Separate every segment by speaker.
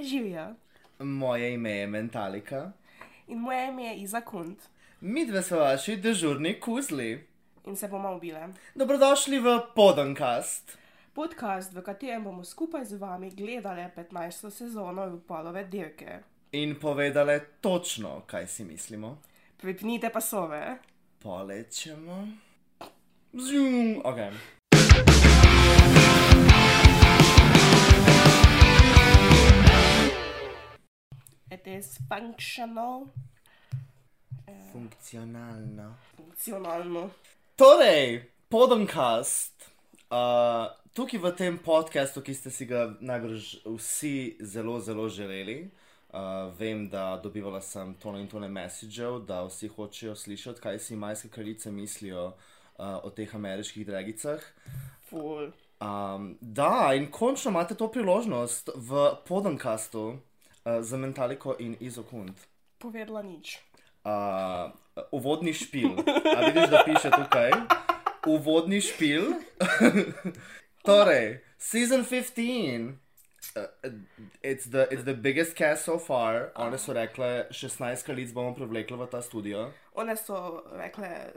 Speaker 1: Živijo.
Speaker 2: Moje ime je Mentalika,
Speaker 1: In moje ime je Iza Kunt.
Speaker 2: mi dve smo vaši dežurni kuzli.
Speaker 1: In se bomo ubile.
Speaker 2: Dobrodošli v Podankast.
Speaker 1: Podcast, v katerem bomo skupaj z vami gledali 15. sezono RuPaulove dirke.
Speaker 2: In povedali točno, kaj si mislimo.
Speaker 1: Pripnite pasove.
Speaker 2: Polečemo. Zjum, ok.
Speaker 1: It is functional,
Speaker 2: Funkcionalno.
Speaker 1: funkcionalno.
Speaker 2: Torej, Podankast. Uh, tukaj v tem podkastu, ki ste si ga najbrž vsi zelo, zelo želeli. Uh, vem, da dobivala sem tone in tone messagev, da vsi hočejo slišati, kaj si majske kraljice mislijo uh, o teh ameriških dragicah.
Speaker 1: Full.
Speaker 2: Um, da, in končno imate to priložnost v Podankastu uh, za Mentaliko in Izokund.
Speaker 1: Povedala nič.
Speaker 2: Uh, uvodni špil. A vidiš, da piše tukaj? Uvodni špil. torej, season 15. Uh, it's, the, it's the biggest cast so far. One so rekle, 16 kraljic bomo privlekli v ta studio.
Speaker 1: One so rekle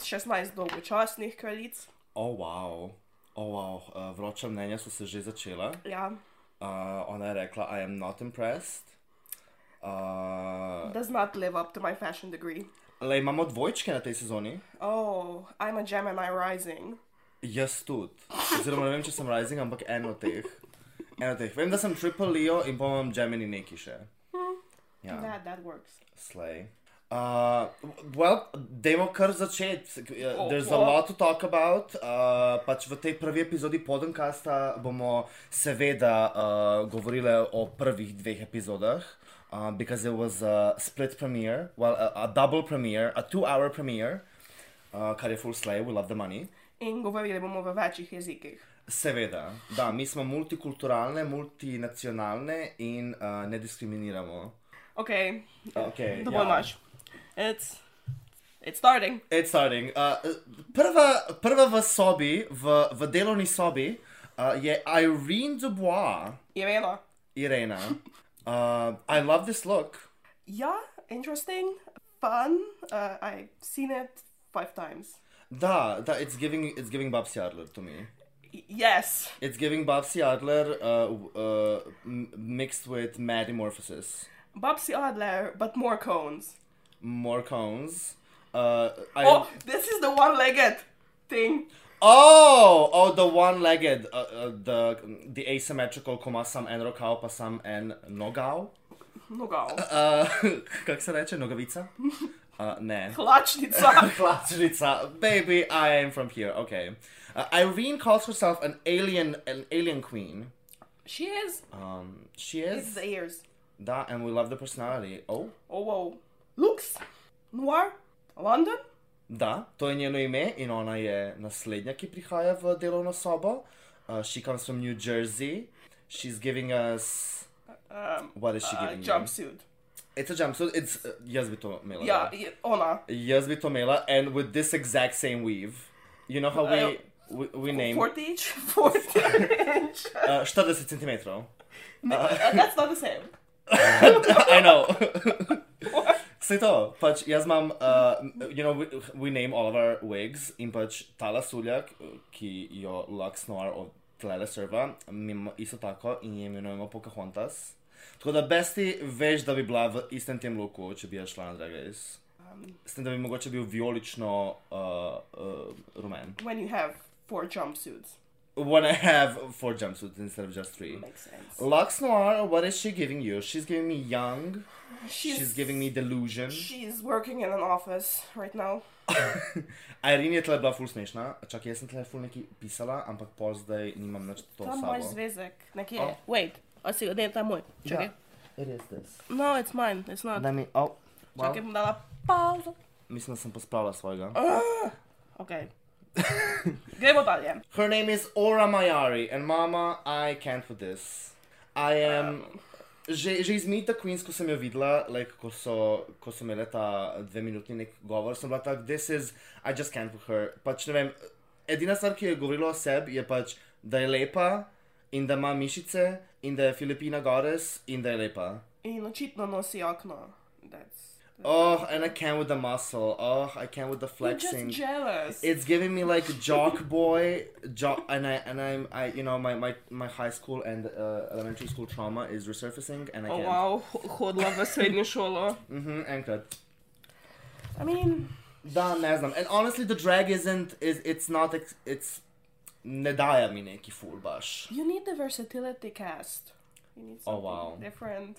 Speaker 1: 16 dolgočasnih kraljic.
Speaker 2: Oh, wow. Oh, wow. Uh, vroča mnenja so se že začela.
Speaker 1: Ja,
Speaker 2: Uh, ona je rekla, I am not impressed. Uh,
Speaker 1: does not live up to my fashion degree.
Speaker 2: le, imamo dvojčke na tej sezoni.
Speaker 1: Oh, I'm a Gemini rising.
Speaker 2: Jaz tudi. Oziroma, ne vem, če sem Rising, ampak eno teh. Eno teh. Vem, da sem Triple Leo in pa imam Gemini neki še. Ja,
Speaker 1: That, that works.
Speaker 2: slej. Uh, well, dajmo kar začeti. Uh,
Speaker 1: Oh,
Speaker 2: There's a
Speaker 1: oh.
Speaker 2: lot to talk about. Uh, pač v tej prvi epizodi Podenkasta bomo seveda uh, govorili o prvih dveh epizodah. Uh, because it was a split premiere, well, a, a double premiere, a two hour premiere, uh, kar je full slay, we love the money.
Speaker 1: In govorili bomo v večjih jezikih.
Speaker 2: Seveda, da, mi smo multikulturalne, multinacionalne in uh, ne diskriminiramo. ja.
Speaker 1: Okay,
Speaker 2: Okay,
Speaker 1: dovolj imaš. It's, it's starting.
Speaker 2: It's starting. Uh, prva, prva v sobi, v, v delovni sobi, uh, je Irene Dubois,
Speaker 1: Irena.
Speaker 2: Irena. Uh, I love this look.
Speaker 1: Yeah, interesting, fun. Uh, I've seen it five times.
Speaker 2: Da, da, it's giving, it's giving Babsi Adler to me.
Speaker 1: Y- yes,
Speaker 2: It's giving Babsi Adler uh, w- uh, m- mixed with Metamorphosis.
Speaker 1: Bobsy Adler, but more cones.
Speaker 2: More cones. Uh, I,
Speaker 1: Oh, this is the one-legged thing.
Speaker 2: Oh, oh, the one-legged, uh, uh, the the asymmetrical, ko ima sam en rokav, pa sam en nogav.
Speaker 1: No go.
Speaker 2: Uh, Kako se reče, nogavica? Uh, ne.
Speaker 1: Klačnica.
Speaker 2: Klačnica, baby, I am from here. Okay. Uh, Irene calls herself an alien, an alien queen.
Speaker 1: She is.
Speaker 2: Um, she
Speaker 1: It's
Speaker 2: is
Speaker 1: the ears.
Speaker 2: that, and we love the personality. Oh,
Speaker 1: Oh wow. Looks. Noir. London.
Speaker 2: da, to je njeno ime in ona je naslednja, ki prihaja v delovno sobo. Uh, she comes from New Jersey. She's giving us.
Speaker 1: Um,
Speaker 2: What is she
Speaker 1: uh,
Speaker 2: giving you?
Speaker 1: jumpsuit.
Speaker 2: It's a jumpsuit. It's uh, jaz bi to imela.
Speaker 1: Yeah,
Speaker 2: da.
Speaker 1: yeah, ona.
Speaker 2: Jaz bi to imela and with this exact same weave. You know how we
Speaker 1: Ejo.
Speaker 2: we, we name
Speaker 1: 40 inch. 40 inch.
Speaker 2: uh, 40 centimetrov.
Speaker 1: Uh, that's not the same.
Speaker 2: I know. Vse to, pač jaz imam, uh, you know, we, we name all of our wigs in pač ta lasuljak, ki jo Lux Noir od tlele serva, mi imamo isto tako in jo imenujemo Pocahontas. Tako da besti veš, da bi bila v istem tem luku, če bi ja šla na Drag Race.
Speaker 1: Um,
Speaker 2: S tem, da bi mogoče bil vijolično uh, uh, rumen.
Speaker 1: When you have four jumpsuits.
Speaker 2: When I have four jumpsuits instead of just three.
Speaker 1: Makes sense.
Speaker 2: Lux Noir, what is she giving you? She's giving me young.
Speaker 1: She's,
Speaker 2: She's giving me delusion.
Speaker 1: She's working in an office right now.
Speaker 2: Irene je tle bila ful smešna, čakaj, jaz sem tle ful neki pisala, ampak pol zdaj nimam nič to
Speaker 1: Tam
Speaker 2: sabo.
Speaker 1: moj zvezek. Nekje.
Speaker 2: Oh.
Speaker 1: Wait. A si, ne, tam moj. Čakaj.
Speaker 2: Ja, it is this.
Speaker 1: No, it's mine. It's not.
Speaker 2: Daj mi, oh, wow.
Speaker 1: Čakaj, bom dala pauzo.
Speaker 2: Mislim, da sem pospravila svojega.
Speaker 1: Ok. Gremo dalje.
Speaker 2: Her name is Ora Mayari and mama, I can't with this. I am... Že, že iz Mita Queens, ko sem jo videla, like, ko, so, ko so imeli ta dveminutni nek govor, sem bila tak, this is, I just can't with her. Pač ne vem, edina stvar, ki je govorila o sebi, je pač, da je lepa in da ima mišice, in da je Filipina Gores, in da je lepa.
Speaker 1: In očitno nosi okno. That's,
Speaker 2: Oh, and I can with the muscle. Oh, I can with the
Speaker 1: I'm just
Speaker 2: flexing.
Speaker 1: jealous.
Speaker 2: It's giving me like jock boy, jock, and I and I'm I you know my my, my high school and uh, elementary school trauma is resurfacing, and I
Speaker 1: Oh,
Speaker 2: can't.
Speaker 1: wow, ho- hodila v srednjo šolo.
Speaker 2: Mm-hmm, enkrat.
Speaker 1: I mean,
Speaker 2: Da, ne znam. And honestly, the drag isn't is it's not ex- it's ne daje mi neki ful baš.
Speaker 1: you need the versatility cast. You need
Speaker 2: Oh,
Speaker 1: something
Speaker 2: wow.
Speaker 1: different.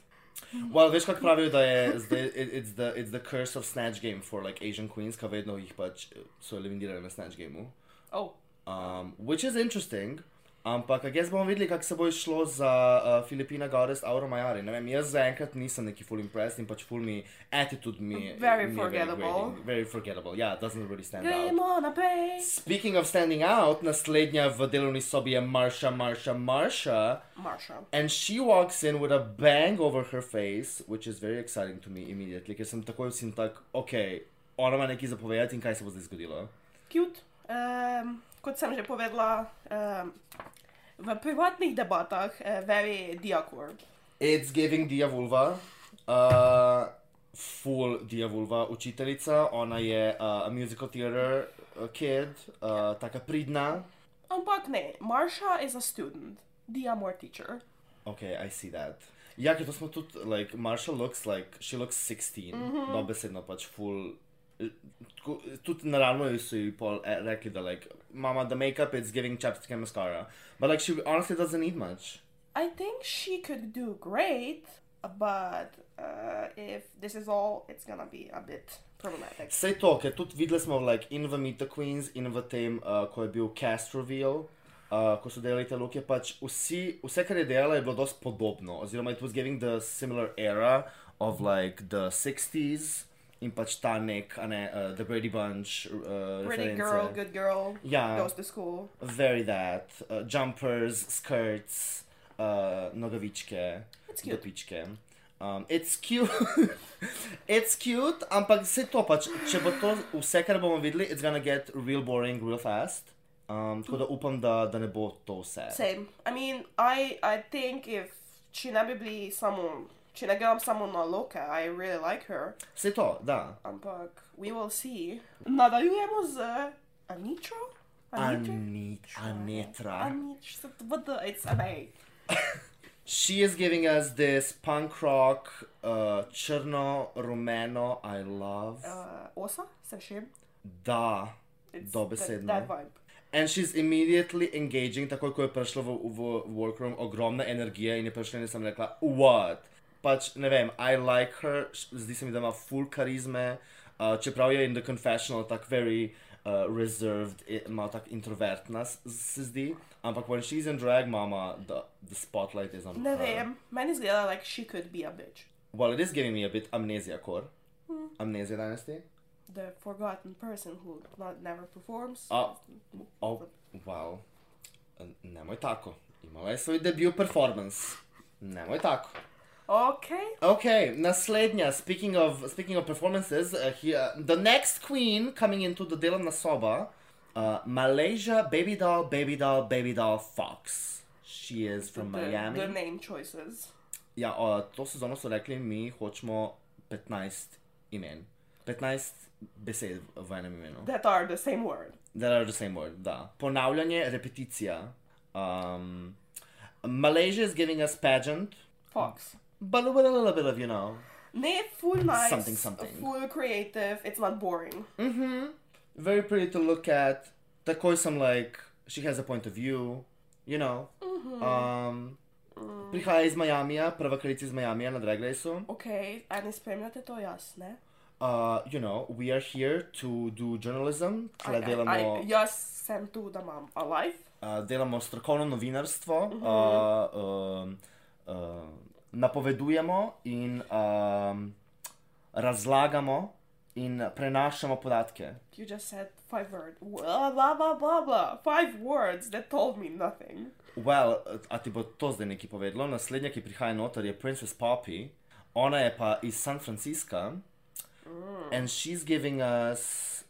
Speaker 2: Well, veš kako pravijo, da je zdaj, it, it's, the, it's the curse of Snatch Game for like Asian queens, ki vedno jih pač eh, so eliminirali na Snatch Gameu.
Speaker 1: Oh,
Speaker 2: Um, which is interesting, ampak jaz bomo videli, kako se bo izšlo za uh, Filipina Gores Auro Majari. Ne vem, jaz zaenkrat nisem neki full impressed in pač full mi attitude mi je.
Speaker 1: Very
Speaker 2: mi je
Speaker 1: forgettable.
Speaker 2: grating. Very forgettable, yeah, doesn't really stand out.
Speaker 1: gremo naprej.
Speaker 2: Speaking of standing out, naslednja v delovni sobi je Marsha, Marsha, Marsha,
Speaker 1: Marsha.
Speaker 2: and she walks in with a bang over her face, which is very exciting to me immediately, ker sem takoj vsem tak, ok, ona ima nekaj zapovedati in kaj se bo zdaj zgodilo.
Speaker 1: Cute. Um, kot sem že povedala, um, v privatnih debatah je uh, very diakor.
Speaker 2: It's giving Dia Vulva. Uh, full Dia Vulva učiteljica. Ona je uh, a musical theater uh, kid, uh, taka pridna.
Speaker 1: Ampak ne, Marsha is a student, Dia more teacher.
Speaker 2: Okay, I see that. Ja, ker to smo tudi, like, Marsha looks like, she looks 16. Mm -hmm. Dobesedno pač full. eh, tako, eh, Tudi naravno so ji pol eh, rekli, da like, mama, the makeup is giving chapstick and mascara. But like, she honestly doesn't need much.
Speaker 1: I think she could do great, but uh, if this is all, it's gonna be a bit problematic.
Speaker 2: Vse to, ker tudi videli smo like, in v Meet the Queens, in v tem, uh, ko je bil cast reveal, uh, ko so delali te luke, pač vsi, vse, kar je delala, je bilo dosti podobno. Oziroma, it was giving the similar era of like the 60s in pač ta nek, a ne, uh, the Brady Bunch, uh,
Speaker 1: Pretty
Speaker 2: reference. Ja.
Speaker 1: girl, good girl,
Speaker 2: Yeah.
Speaker 1: goes to school.
Speaker 2: Very that. Uh, jumpers, skirts, uh, nogavičke,
Speaker 1: It's cute.
Speaker 2: dopičke. Um, it's cute, it's cute, ampak se to pač, če bo to vse, kar bomo videli, it's gonna get real boring real fast. Um, tako da upam, da, da ne bo to vse.
Speaker 1: Same. I mean, I I think if she ne bi bili samo, če ne gledam samo na Loke, I really like her.
Speaker 2: Vse to, da.
Speaker 1: Ampak we will see. Nadaljujemo z Anitro?
Speaker 2: Anit, Anitra.
Speaker 1: Anitra, what the, it's uh, a name.
Speaker 2: She is giving us this punk rock, uh, črno, rumeno, I love.
Speaker 1: Uh, osa, se šim.
Speaker 2: Da,
Speaker 1: It's
Speaker 2: dobesedno.
Speaker 1: That, that vibe.
Speaker 2: And she's immediately engaging, takoj ko je prišla v, v workroom, ogromna energija in je prišla in jaz sem rekla, what? Pač ne vem, I like her, š- zdi se mi, da ima full karizme, uh, čeprav je in the confessional tak very uh, reserved, i- ima tak introvertna s- se zdi, ampak when she's in drag, mama, the, the spotlight is on
Speaker 1: Ne
Speaker 2: her.
Speaker 1: vem, meni zgleda, like she could be a bitch.
Speaker 2: Well, it is giving me a bit amnesia core.
Speaker 1: Mm.
Speaker 2: Amnesia dynasty?
Speaker 1: The forgotten person who not never performs.
Speaker 2: A, o, wow. Nemoj tako. Imala je svoj debut performance. Nemoj tako.
Speaker 1: Okay.
Speaker 2: Okay, naslednja, speaking of, speaking of performances, uh, here, the next queen coming into the delovna soba, uh, Malaysia Baby Doll, Baby Doll, Baby Doll Fox. She is from
Speaker 1: The,
Speaker 2: Miami.
Speaker 1: the name choices.
Speaker 2: Ja, uh, to sezono so rekli, mi hočemo 15 imen. 15 besed v enem imenu.
Speaker 1: That are the same word.
Speaker 2: That are the same word, da. Ponavljanje, repeticija. Um, Malaysia is giving us pageant, Hmm.
Speaker 1: Fox.
Speaker 2: but with a little bit of, you know,
Speaker 1: Ne, full nice.
Speaker 2: Something, something.
Speaker 1: Full creative. It's not boring.
Speaker 2: very pretty to look at. Takoj sem like, she has a point of view, you know.
Speaker 1: Mm-hmm.
Speaker 2: Um,
Speaker 1: Mm.
Speaker 2: prihaja iz Miamija, prva kraljica iz Miamija na Drag Raceu.
Speaker 1: Okay, a ne spremljate to jaz, ne?
Speaker 2: Uh, you know, we are here to do journalism, tle
Speaker 1: I- I-
Speaker 2: delamo...
Speaker 1: I- jaz sem tu, da imam alive.
Speaker 2: Uh, delamo strokovno novinarstvo, uh -huh. uh, um, uh, napovedujemo in um, razlagamo in prenašamo podatke.
Speaker 1: You just said five words. Blah, blah, blah, blah, blah. Five words that told me nothing.
Speaker 2: Well, a ti bo to zdaj nekaj povedalo? Naslednja, ki prihaja noter, je Princess Poppy, ona je pa iz San Francisca mm. and she's giving us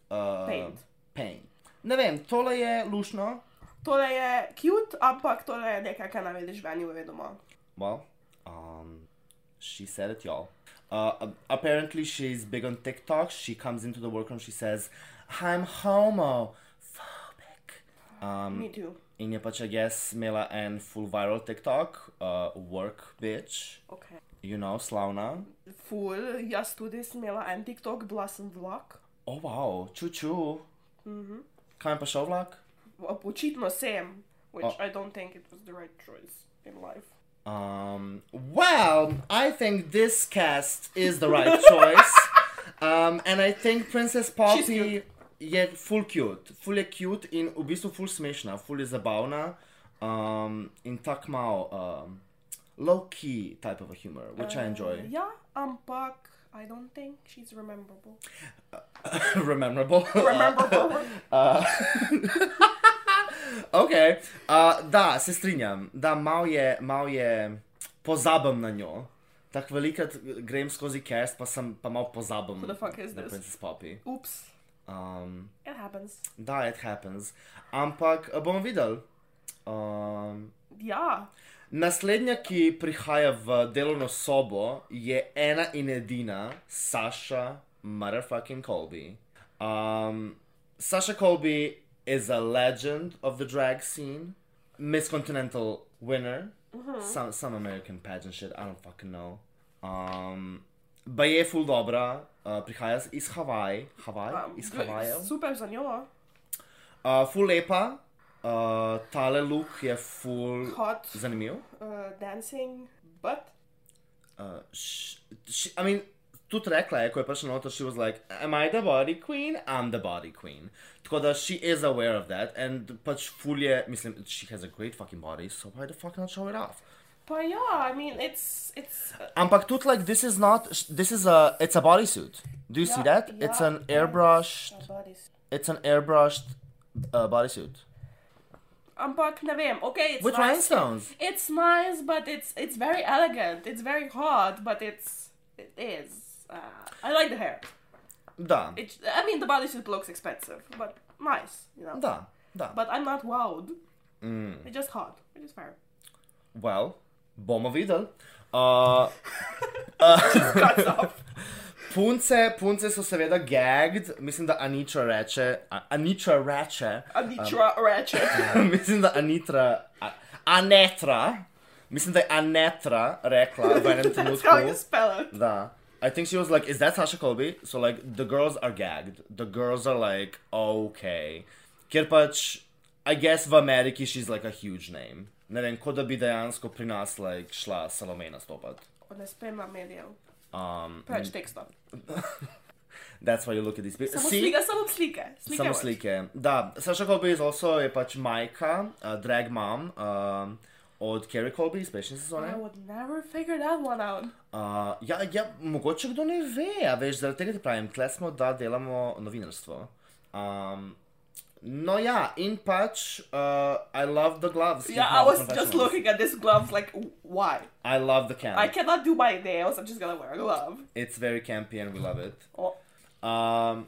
Speaker 2: uh,
Speaker 1: Paint.
Speaker 2: paint. Ne vem, tole je lušno,
Speaker 1: Tole je cute, ampak tole je nekaj, kar ne vidiš anyway doma.
Speaker 2: Well, um, she said it, y'all. Uh, a- apparently, she's big on TikTok. She comes into the workroom. She says, "I'm homophobic." Um,
Speaker 1: Me too.
Speaker 2: in je pač, I guess, imela en full viral TikTok, uh, work bitch,
Speaker 1: Okay.
Speaker 2: you know, slavna.
Speaker 1: Ful, jaz tudi sem imela en TikTok, bila sem vlak.
Speaker 2: Oh wow, ču ču. Kaj je pa šel vlak?
Speaker 1: Očitno sem, which
Speaker 2: Oh.
Speaker 1: I don't think it was the right choice in life.
Speaker 2: Um, well, I think this cast is the right choice. Um, and I think Princess Poppy
Speaker 1: cute.
Speaker 2: je full cute, full je cute in v bistvu full smešna, full je zabavna um, in tak mal um, low key type of a humor, which I enjoy.
Speaker 1: Ja, ampak I don't think she's rememberable. Um.
Speaker 2: Rememberable.
Speaker 1: Rememberable.
Speaker 2: Uh, ok, uh, da, se strinjam, da malo je, mal je, pozabim na njo. Tako velikrat grem skozi cast, pa sem pa malo pozabim.
Speaker 1: Who the fuck is
Speaker 2: na
Speaker 1: this?
Speaker 2: Princess Poppy.
Speaker 1: Oops,
Speaker 2: Um,
Speaker 1: it happens.
Speaker 2: da, it happens. Ampak eh, bomo videli. Um,
Speaker 1: Ja,
Speaker 2: naslednja, ki prihaja v delovno sobo, je ena in edina Saša Motherfucking Colby. Um, Sasha Colby is a legend of the drag scene, Miss Continental winner, some some American pageant shit. I don't fucking know. Um, but je full dobra, uh, prihaja z- iz Havaj, Havaj,
Speaker 1: um,
Speaker 2: iz
Speaker 1: gl-
Speaker 2: Havajev.
Speaker 1: super za njo.
Speaker 2: Uh, full lepa, uh, tale look je full
Speaker 1: Hot
Speaker 2: zanimiv.
Speaker 1: uh, dancing, but
Speaker 2: Uh, sh, sh, I mean, tudi rekla je, ko je prišla noter, she was like, am I the body queen? I'm the body queen. Tako da she is aware of that and pač full je, mislim, she has a great fucking body, so why the fuck not show it off?
Speaker 1: pa ja, I mean, it's, it's uh,
Speaker 2: Ampak tudi like, this is not, this is a, it's a bodysuit. Do you see
Speaker 1: Ja,
Speaker 2: that?
Speaker 1: ja,
Speaker 2: it's an
Speaker 1: ja.
Speaker 2: airbrushed,
Speaker 1: somebody's.
Speaker 2: it's an airbrushed uh, bodysuit.
Speaker 1: Ampak ne vem, okay, it's
Speaker 2: With
Speaker 1: nice.
Speaker 2: rhinestones.
Speaker 1: It's nice, but it's it's very elegant. It's very hot, but it's it is. Uh, I like the hair.
Speaker 2: Da,
Speaker 1: It, I mean, the bodysuit looks expensive, but nice, you know.
Speaker 2: da, da.
Speaker 1: But I'm not wowed.
Speaker 2: Mm.
Speaker 1: It's just hot, which is fair.
Speaker 2: Well, bomo videli. Uh,
Speaker 1: Cuts off.
Speaker 2: punce, punce so seveda gagged, mislim, da Anitra reče, a- Anitra reče,
Speaker 1: Anitra
Speaker 2: Um,
Speaker 1: Ratchet.
Speaker 2: mislim, da Anitra, a, Anetra, mislim, da je Anetra rekla v enem
Speaker 1: That's how you
Speaker 2: trenutku,
Speaker 1: spell it.
Speaker 2: da. I think she was like, is that Sasha Colby? So like, the girls are gagged, the girls are like, okay. Ker pač, I guess v Ameriki she's like a huge name. Ne vem, kot da bi dejansko pri nas like šla Salome nastopat.
Speaker 1: Ne spem na medijev.
Speaker 2: Um,
Speaker 1: Preveč teksta.
Speaker 2: That's why you look at these people.
Speaker 1: Samo
Speaker 2: See,
Speaker 1: slika, samo slike. slike
Speaker 2: samo
Speaker 1: watch.
Speaker 2: slike. Da, Saša Colby is also je pač majka, uh, drag mom um, od Kerry Colby iz prejšnje
Speaker 1: I
Speaker 2: sezone.
Speaker 1: would never figure that one out.
Speaker 2: Uh, ja, ja, mogoče kdo ne ve, a veš, zaradi tega ti pravim, tle smo, da delamo novinarstvo. Um, no ja, in pač, uh, I love the gloves.
Speaker 1: Yeah, Ja, I
Speaker 2: Keep
Speaker 1: was
Speaker 2: Mouse
Speaker 1: just
Speaker 2: Confessionals.
Speaker 1: looking at this gloves like, w- why?
Speaker 2: I love the camp.
Speaker 1: I cannot do my nails. I'm just gonna wear a glove.
Speaker 2: It's very campy and we love it.
Speaker 1: Oh,
Speaker 2: Um,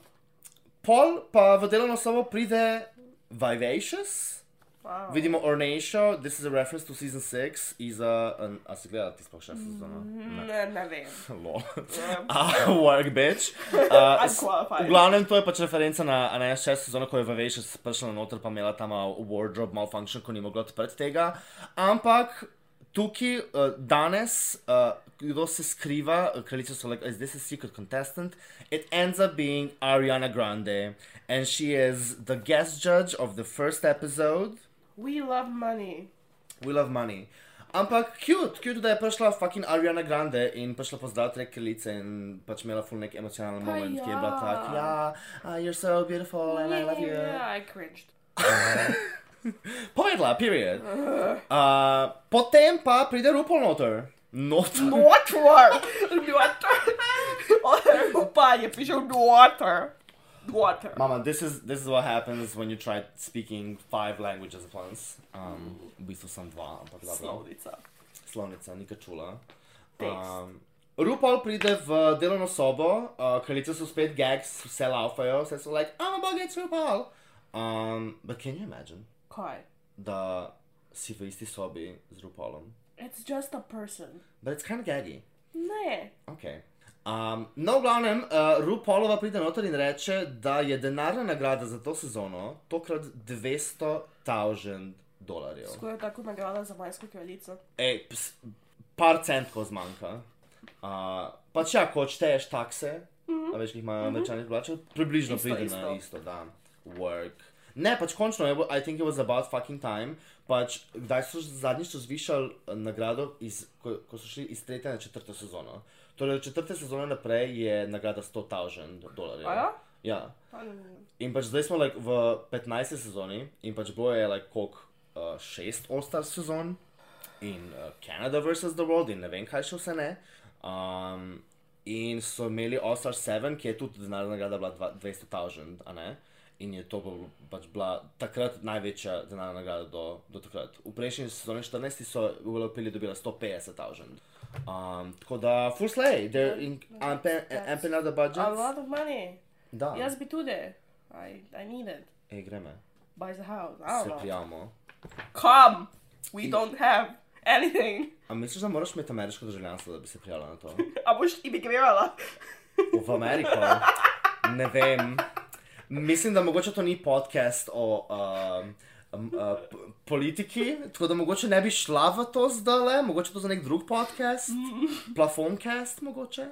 Speaker 2: pol pa v delovno sobo pride Vivacious.
Speaker 1: wow.
Speaker 2: Vidimo Ornatio, this is a reference to season 6, iz a... an- A si gledala ti sploh še sezono?
Speaker 1: Ne, ne vem.
Speaker 2: Lol.
Speaker 1: Ja.
Speaker 2: A, work bitch. Uh, s-
Speaker 1: Unqualified.
Speaker 2: v glavnem to je pač referenca na 11. sezono, ko je Vaveš prišla noter pa imela tam wardrobe malfunction, ko ni mogla odpreti tega. Ampak tukaj, uh, danes, uh, kdo se skriva, kraljice so like, is this a secret contestant? It ends up being Ariana Grande. And she is the guest judge of the first episode.
Speaker 1: We love money.
Speaker 2: We love money. Ampak cute, cute, da je prišla fucking Ariana Grande in prišla pozdraviti neke klice in pač imela full nek emocionalen
Speaker 1: Pa
Speaker 2: moment, ki je
Speaker 1: ja.
Speaker 2: bila tak, ja, ah, you're so beautiful and I love you.
Speaker 1: Yeah, I cringed.
Speaker 2: Povedla, period.
Speaker 1: Uh-huh.
Speaker 2: Uh, potem pa pride RuPaul noter. Noter.
Speaker 1: Water! Water! Upanje, piše water. Water.
Speaker 2: Mama, this is this is what happens when you try speaking five languages at once. Um, v bistvu sem dva, ampak dobro.
Speaker 1: Slovnica.
Speaker 2: slovnica, ni kačula.
Speaker 1: Tekst.
Speaker 2: Um, RuPaul pride v delovno sobo, uh, kraljice so spet gags, "Oh, vse laufajo, vse so like, I'm a bog, it's RuPaul. Um, but can you imagine?
Speaker 1: Kaj?
Speaker 2: da si v isti sobi z Rupolom.
Speaker 1: It's just a person.
Speaker 2: But it's kind of gaggy.
Speaker 1: Ne.
Speaker 2: Okay. Um, no, v glavnem, uh, Rupolova pride noter in reče, da je denarna nagrada za to sezono tokrat 200 tisoč dolarjev.
Speaker 1: Skoro tako nagrada za majsko kraljico.
Speaker 2: Ej, ps, par centkov zmanjka. Uh, pač ja, ko odšteješ takse, mm -hmm. veš, ki jih imajo američani plačati, približno
Speaker 1: Mhm. Isto,
Speaker 2: pride
Speaker 1: isto.
Speaker 2: na isto, da. Work. Ne, pač končno, je bilo- I think it was about fucking time. Pač, kdaj so zadnjič so zvišali eh, nagrado, iz, ko, ko so šli iz tretje na četrto sezono. Torej, od četrte sezone naprej je nagrada 100 tisoč dolarjev.
Speaker 1: Aja?
Speaker 2: Ja.
Speaker 1: Pa ne.
Speaker 2: In pač zdaj smo like, v 15. sezoni in pač bilo je like, koliko uh, šest ostar sezon in uh, Canada vs. The World in ne vem kaj še vse ne. Um, in so imeli Ostar 7, ki je tudi denarna nagrada bila dva- 200 tisoč, a ne. In je to bil- pač bila takrat največja denarna nagrada do, do takrat. V prejšnji sezoni 14 so v Evropi dobila 150 tisoč. Um, tako da, full slay, they're in ampe- ampenada
Speaker 1: A
Speaker 2: budget.
Speaker 1: lot of money.
Speaker 2: Da,
Speaker 1: Jaz bi tudi. I, I need it.
Speaker 2: Ej, gremo.
Speaker 1: Buy the house. I
Speaker 2: se
Speaker 1: don't know.
Speaker 2: prijavimo.
Speaker 1: Come! We don't have anything.
Speaker 2: A misliš, da moraš imeti ameriško državljanstvo, da bi se prijavila na to?
Speaker 1: A boš imigrirala?
Speaker 2: V Ameriko? Ne vem. Mislim, da mogoče to ni podcast o um, um, uh, p- politiki, tako da mogoče ne bi šla v to zdaj, mogoče to za nek drug podcast, plafoncast mogoče.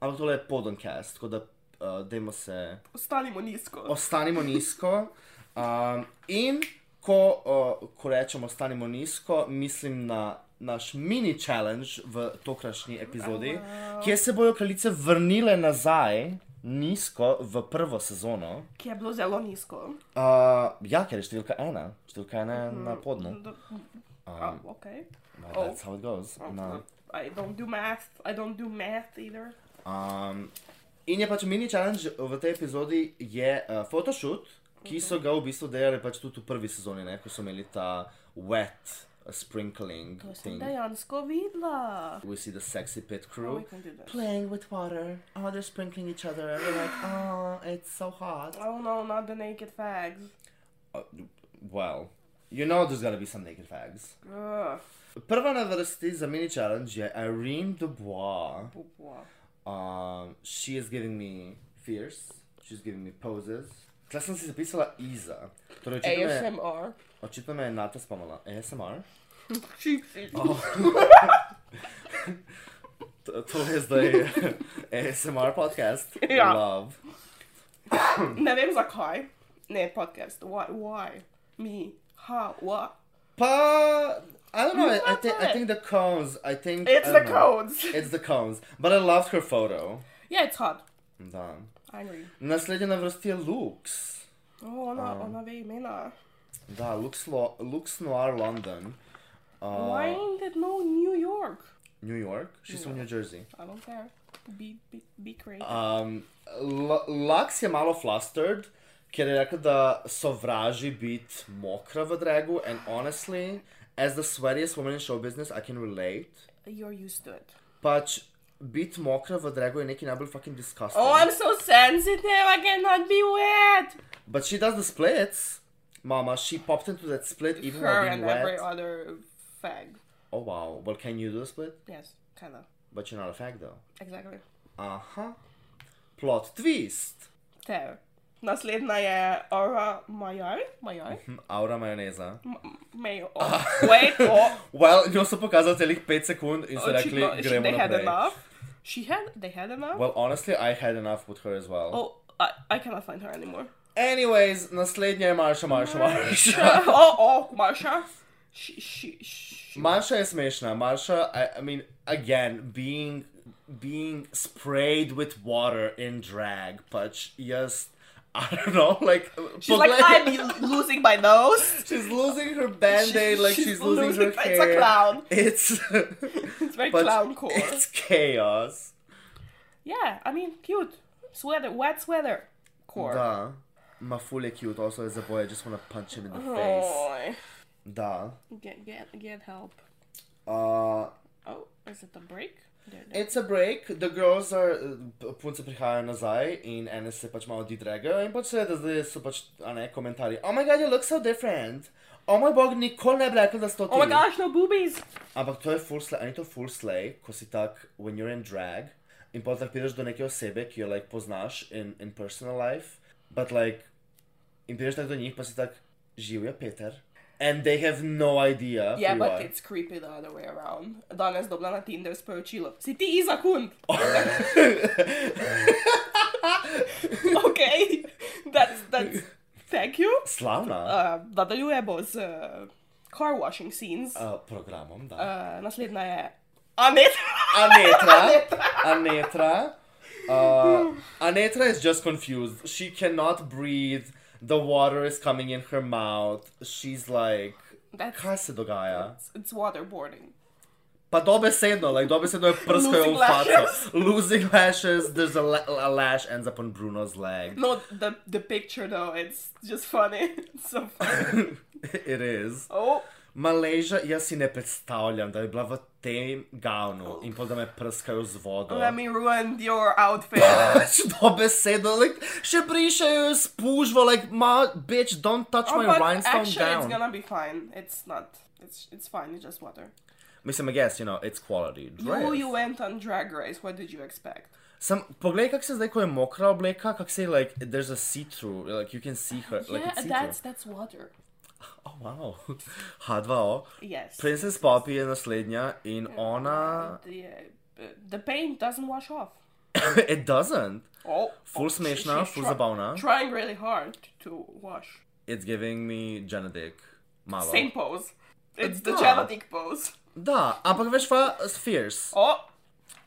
Speaker 2: Ampak tole je podoncast, tako da uh, dajmo se
Speaker 1: Ostanimo nizko.
Speaker 2: ostanimo nizko. Um, in ko, uh, ko rečemo ostanimo nizko, mislim na naš mini challenge v tokrajšnji epizodi, kjer se bojo kraljice vrnile nazaj nizko v prvo sezono.
Speaker 1: Ki je bilo zelo nizko.
Speaker 2: Uh, ja, ker je številka ena, številka ena je na podnu.
Speaker 1: Do- Ah, A, ok.
Speaker 2: Well, that's how it goes. Um,
Speaker 1: Oh,
Speaker 2: No.
Speaker 1: I don't do math. I don't do math either.
Speaker 2: Um, in je pač mini challenge v tej epizodi je uh, photoshoot, ki so ga v bistvu delali pač tudi v prvi sezoni, ne, ko so imeli ta wet uh, sprinkling
Speaker 1: To sem
Speaker 2: thing.
Speaker 1: dejansko videla.
Speaker 2: We see the sexy pit
Speaker 1: Oh,
Speaker 2: crew
Speaker 1: we can do that.
Speaker 2: playing with water. Oh, they're sprinkling each other. We're like, oh, it's so hot.
Speaker 1: Oh no, not the naked fags.
Speaker 2: Uh, well, you know there's gotta be some naked fags.
Speaker 1: Ugh.
Speaker 2: Prva na vrsti za mini challenge je Irene Dubois.
Speaker 1: Pupua.
Speaker 2: Um, she is giving me fears. She's giving me poses. Tla sem si zapisala Iza. Torej, očitno, me,
Speaker 1: ASMR.
Speaker 2: očitno me je Nata spomnila. ASMR?
Speaker 1: Cheap
Speaker 2: Oh. To, to je zdaj ASMR podcast.
Speaker 1: Ja.
Speaker 2: Love.
Speaker 1: Ne vem zakaj. Ne, podcast. Why? Why? Me? How? What?
Speaker 2: Pa, I don't know. I, I, think, I
Speaker 1: Nata.
Speaker 2: think the cones. I think.
Speaker 1: It's
Speaker 2: I
Speaker 1: the
Speaker 2: don't know.
Speaker 1: codes.
Speaker 2: It's the cones. But I loved her photo.
Speaker 1: Yeah, it's hot.
Speaker 2: Da.
Speaker 1: I agree.
Speaker 2: Naslednja na vrsti je Lux.
Speaker 1: Oh, ona,
Speaker 2: Um,
Speaker 1: ona ve imena.
Speaker 2: Da, Lux, Lo, Lux Noir London.
Speaker 1: Why
Speaker 2: Uh,
Speaker 1: ain't it no New York?
Speaker 2: New York. She's
Speaker 1: Mm.
Speaker 2: from New Jersey.
Speaker 1: I don't care. Be, be, be crazy.
Speaker 2: Um, L- Lux je malo flustered, ker je rekel, da sovraži biti mokra v dragu. And honestly, as the sweatiest woman in show business, I can relate.
Speaker 1: You're used to it.
Speaker 2: uh, Pač biti mokra v dragu je nekaj najbolj fucking disgusting.
Speaker 1: Oh, I'm so sensitive. I cannot be wet.
Speaker 2: But she does the splits. Mama, she popped into that split even
Speaker 1: Her
Speaker 2: while
Speaker 1: and
Speaker 2: being wet.
Speaker 1: every other fag.
Speaker 2: Oh wow. Well, can you do the split?
Speaker 1: Yes, kind of.
Speaker 2: But you're not a fag though.
Speaker 1: Exactly.
Speaker 2: Aha. Plot twist.
Speaker 1: Ter. Naslednja je Aura Majaj. Majaj?
Speaker 2: Hm, Aura majoneza.
Speaker 1: Majo. Wait, oh.
Speaker 2: Well, njo so pokazali celih 5 sekund in so rekli,
Speaker 1: Očitno, she,
Speaker 2: gremo
Speaker 1: they had
Speaker 2: naprej.
Speaker 1: enough. She had, they had enough.
Speaker 2: Well, honestly, I had enough with her as well.
Speaker 1: Oh, I, I cannot find her anymore.
Speaker 2: Anyways, naslednja je Marša, Marša, Marša.
Speaker 1: oh, oh, Marsha. She, she, she.
Speaker 2: Marša je smešna. Marša, I, I mean, again, being, being sprayed with water in drag, pač jaz, I don't know, like...
Speaker 1: She's like, I'm l- losing my nose.
Speaker 2: She's losing her band-aid, like she's, losing, her hair.
Speaker 1: It's a clown.
Speaker 2: It's...
Speaker 1: It's very
Speaker 2: pač,
Speaker 1: clown core.
Speaker 2: It's chaos.
Speaker 1: Yeah, I mean, cute. Sweater, wet sweater core.
Speaker 2: Da. Maful je cute, also as a boy, I just wanna punch him in the face.
Speaker 1: Oh,
Speaker 2: Da.
Speaker 1: get, get, get help.
Speaker 2: Uh,
Speaker 1: Oh, is it a break? There, there.
Speaker 2: it's a break, the girls are, uh, p- punce prihajajo nazaj in ene se pač malo didragajo in pač seveda zdaj so pač, a ne, komentarji. Oh my god, you look so different. o moj bog, nikoli ne bi rekla, da sto ti.
Speaker 3: Oh my gosh, no boobies!
Speaker 2: Ampak to je full slay, a ni to full slay, ko si tak, when you're in drag, in potem tako prideš do neke osebe, ki jo like, poznaš in, in personal life, but like, in prideš tako do njih, pa si tak, živijo Peter. And they have no idea. who
Speaker 1: Yeah,
Speaker 2: you
Speaker 1: but
Speaker 2: are.
Speaker 1: it's creepy the other way around. Danes dobila na Tinder sporočilo. Si ti Iza Kun? okay, that's, that's, thank you.
Speaker 2: Slavna
Speaker 1: Uh, nadaljuje bo z uh, car washing scenes. Uh,
Speaker 2: uh, programom, da.
Speaker 1: naslednja je Anet.
Speaker 2: Anetra. Anetra. Uh, Anetra is just confused. She cannot breathe. The water is coming in her mouth. She's like,
Speaker 1: That's,
Speaker 2: kaj se dogaja?
Speaker 1: it's, it's waterboarding.
Speaker 2: Pa dobesedno, like, dobesedno je prskajo v
Speaker 1: Losing lashes.
Speaker 2: faco. Losing lashes, there's a, la a lash ends up on Bruno's leg.
Speaker 1: No, the the picture though, it's just funny. It's so funny.
Speaker 2: It is.
Speaker 1: Oh,
Speaker 2: Malaysia, jaz si ne predstavljam, da bi bila v tem gavnu in potem da me prskajo z vodo.
Speaker 1: let me ruin your outfit.
Speaker 2: Pač dobesedno, like, še brišejo s pužvo, like, ma, bitch, don't touch
Speaker 1: Oh,
Speaker 2: my
Speaker 1: but
Speaker 2: rhinestone
Speaker 1: actually,
Speaker 2: gown.
Speaker 1: it's gonna be fine. It's not. It's it's fine. It's just water.
Speaker 2: Mislim, I guess, you know, it's quality. Dress.
Speaker 1: You you went on Drag Race. What did you expect?
Speaker 2: Sam, poglej, kako se zdaj, ko je mokra obleka, kako se, like, there's a see-through, like, you can see her, like, it's see-through.
Speaker 1: that's water.
Speaker 2: Oh, wow. H2O.
Speaker 1: Yes.
Speaker 2: Princess Poppy je naslednja in ona...
Speaker 1: The, uh, the paint doesn't wash off.
Speaker 2: It doesn't.
Speaker 1: Oh,
Speaker 2: Ful
Speaker 1: oh,
Speaker 2: smešna,
Speaker 1: she's
Speaker 2: ful
Speaker 1: try-
Speaker 2: zabavna.
Speaker 1: Trying really hard to wash.
Speaker 2: It's giving me Genetic. Malo.
Speaker 1: Same pose. It's the
Speaker 2: Da.
Speaker 1: genetic pose.
Speaker 2: Da, ampak veš pa, Fierce.
Speaker 1: Oh,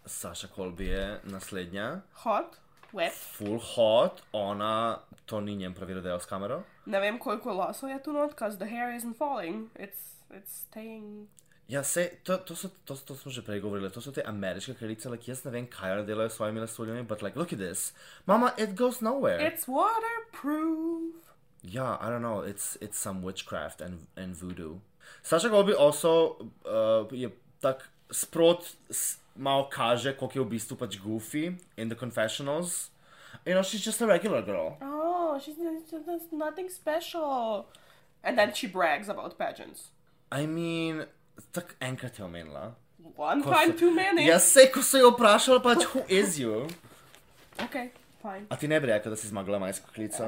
Speaker 2: Saša Kolbi je naslednja.
Speaker 1: hot, wet.
Speaker 2: Full hot, ona, to ni njen pravi rodeo s kamero.
Speaker 1: Ne vem koliko lasov je tu not, cause the hair isn't falling. It's it's staying.
Speaker 2: Ja, se, to, to, so, to, to smo že prej govorili, to so te ameriške kraljice, like, jaz ne vem, kaj one delajo s svojimi lasuljami, but like, look at this. Mama, it goes nowhere.
Speaker 1: It's waterproof.
Speaker 2: Yeah, I don't know. It's it's some witchcraft and and voodoo. Saša Gobi also uh, je tak sprot s- malo kaže, koliko je v bistvu pač goofy in the confessionals. You know, she's just a regular girl.
Speaker 1: Oh, she's there's nothing special. And then she brags about pageants.
Speaker 2: I mean, tak enkrat je omenila.
Speaker 1: One time too many.
Speaker 2: Jaz se, ko so jo vprašala, pač who is you?
Speaker 1: Okay, fine.
Speaker 2: A ti ne bi rekla, da si zmagala majsko klico?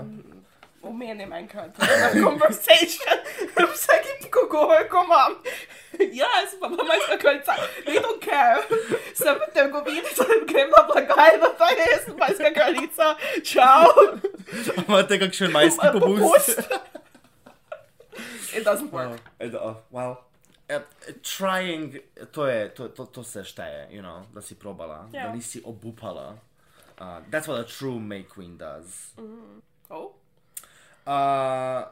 Speaker 1: Omenim enkrat na conversation. Vsakim, ko govorim, ko imam. Jaz pa imam majhna kraljica. They don't care. Sem v trgovini, sem grem na blagajno, to je jaz majhna kraljica. Čau.
Speaker 2: Imate kakšen majski popust?
Speaker 1: Popust. It doesn't work.
Speaker 2: Ed- oh, Well, eh, trying, to, je, to, to, to se šteje, you know, da si probala, yeah. da
Speaker 1: Ja.
Speaker 2: nisi obupala. Uh, that's what a true May Queen does.
Speaker 1: Oh.
Speaker 2: Uh,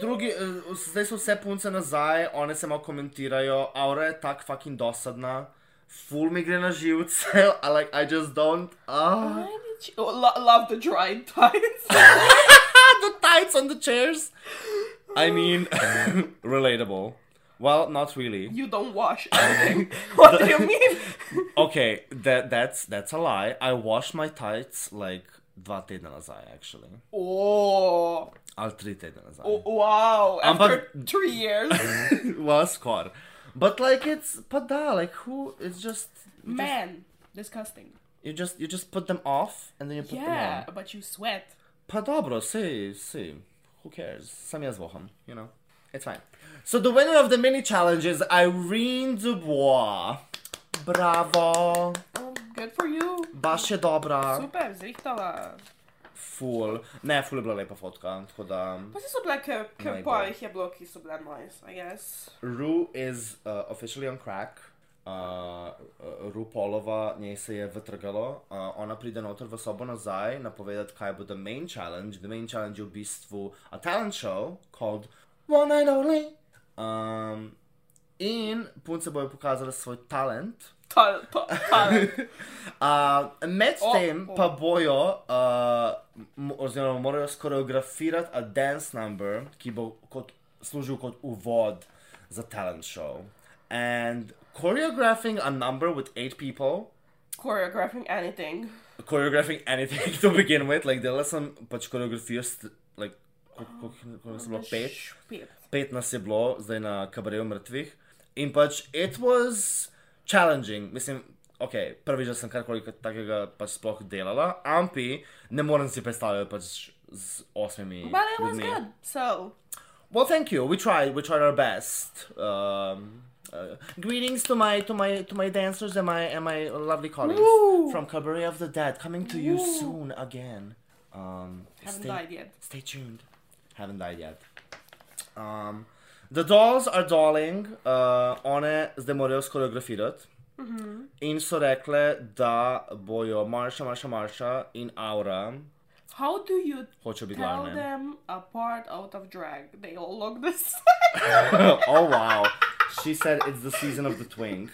Speaker 2: drugi, eh, zdaj so vse punce nazaj, one se malo komentirajo, aura je tako fucking dosadna, full mi gre na živce, I like, I just don't. Uh.
Speaker 1: Why did you... oh, lo- love the dried tights.
Speaker 2: the tights on the chairs! I mean, relatable. Well, not really.
Speaker 1: you don't wash anything. what do you mean?
Speaker 2: Okay, that that's that's a lie. I washed my tights like dva tedna nazaj, actually.
Speaker 1: Oh,
Speaker 2: Ali tri tedna nazaj.
Speaker 1: oh, wow. After
Speaker 2: Ampak-
Speaker 1: three years.
Speaker 2: well, score. But like it's pa da, like who it's just you just-
Speaker 1: Man, disgusting.
Speaker 2: you just you just put them off and then you put
Speaker 1: Yeah,
Speaker 2: them on.
Speaker 1: but you sweat.
Speaker 2: Pa dobro, si, si. Who cares? Sam jaz voham, you know. It's fine. So the winner of the mini challenge is Irene Dubois. Bravo.
Speaker 1: Oh, good for you.
Speaker 2: Baš je dobra.
Speaker 1: Super, zrihtala.
Speaker 2: Ful. Ne, ful je bila lepa fotka, tako da...
Speaker 1: Pa se so bile, ker, ker
Speaker 2: Najbolj.
Speaker 1: pa jih je bilo, ki so bile nice, I guess.
Speaker 2: Ru is uh, officially on crack. Uh, uh, Ru Polova, njej se je vrtalo, uh, ona pride noter v sobo nazaj, napovedati, kaj bo the main challenge. The main challenge je v bistvu a talent show called One Night Only. Um, in punce bojo pokazale svoj talent.
Speaker 1: Ta, ta, ta.
Speaker 2: Uh, med
Speaker 1: O,
Speaker 2: tem
Speaker 1: o.
Speaker 2: pa bojo, uh, m- oziroma morajo skoreografirati a dance number, ki bo kot, služil kot uvod za talent show. And choreographing a number with eight people,
Speaker 1: Choreographing anything.
Speaker 2: choreographing anything to begin with, like delala sem pač koreografijo s like koliko koliko nas je
Speaker 1: Oh,
Speaker 2: bilo, pet,
Speaker 1: Pet.
Speaker 2: pet nas je bilo, zdaj na kabareju mrtvih. In pač, it was challenging, mislim, ok, prvič, da sem karkoli kot takega pač sploh delala, ampi ne morem si predstavljati pač z osmimi.
Speaker 1: But it was
Speaker 2: ljudmi.
Speaker 1: good. So,
Speaker 2: Well, thank you. We tried. We tried our best. Um, uh, greetings to my to my to my dancers and my and my lovely colleagues
Speaker 1: Woo!
Speaker 2: from Cabaret of the Dead, coming to you
Speaker 1: Woo!
Speaker 2: soon again. Um,
Speaker 1: haven't
Speaker 2: stay,
Speaker 1: died yet.
Speaker 2: Stay tuned. Haven't died yet. Um, the dolls are dolling. Uh, one zdaj morajo skoreografirati. In so rekle, da bojo Marsha, Marsha, Marsha in Aura
Speaker 1: How do you
Speaker 2: hoče biti
Speaker 1: tell
Speaker 2: glavne.
Speaker 1: them apart out of drag? They all look the same.
Speaker 2: oh wow. She said it's the season of the twink.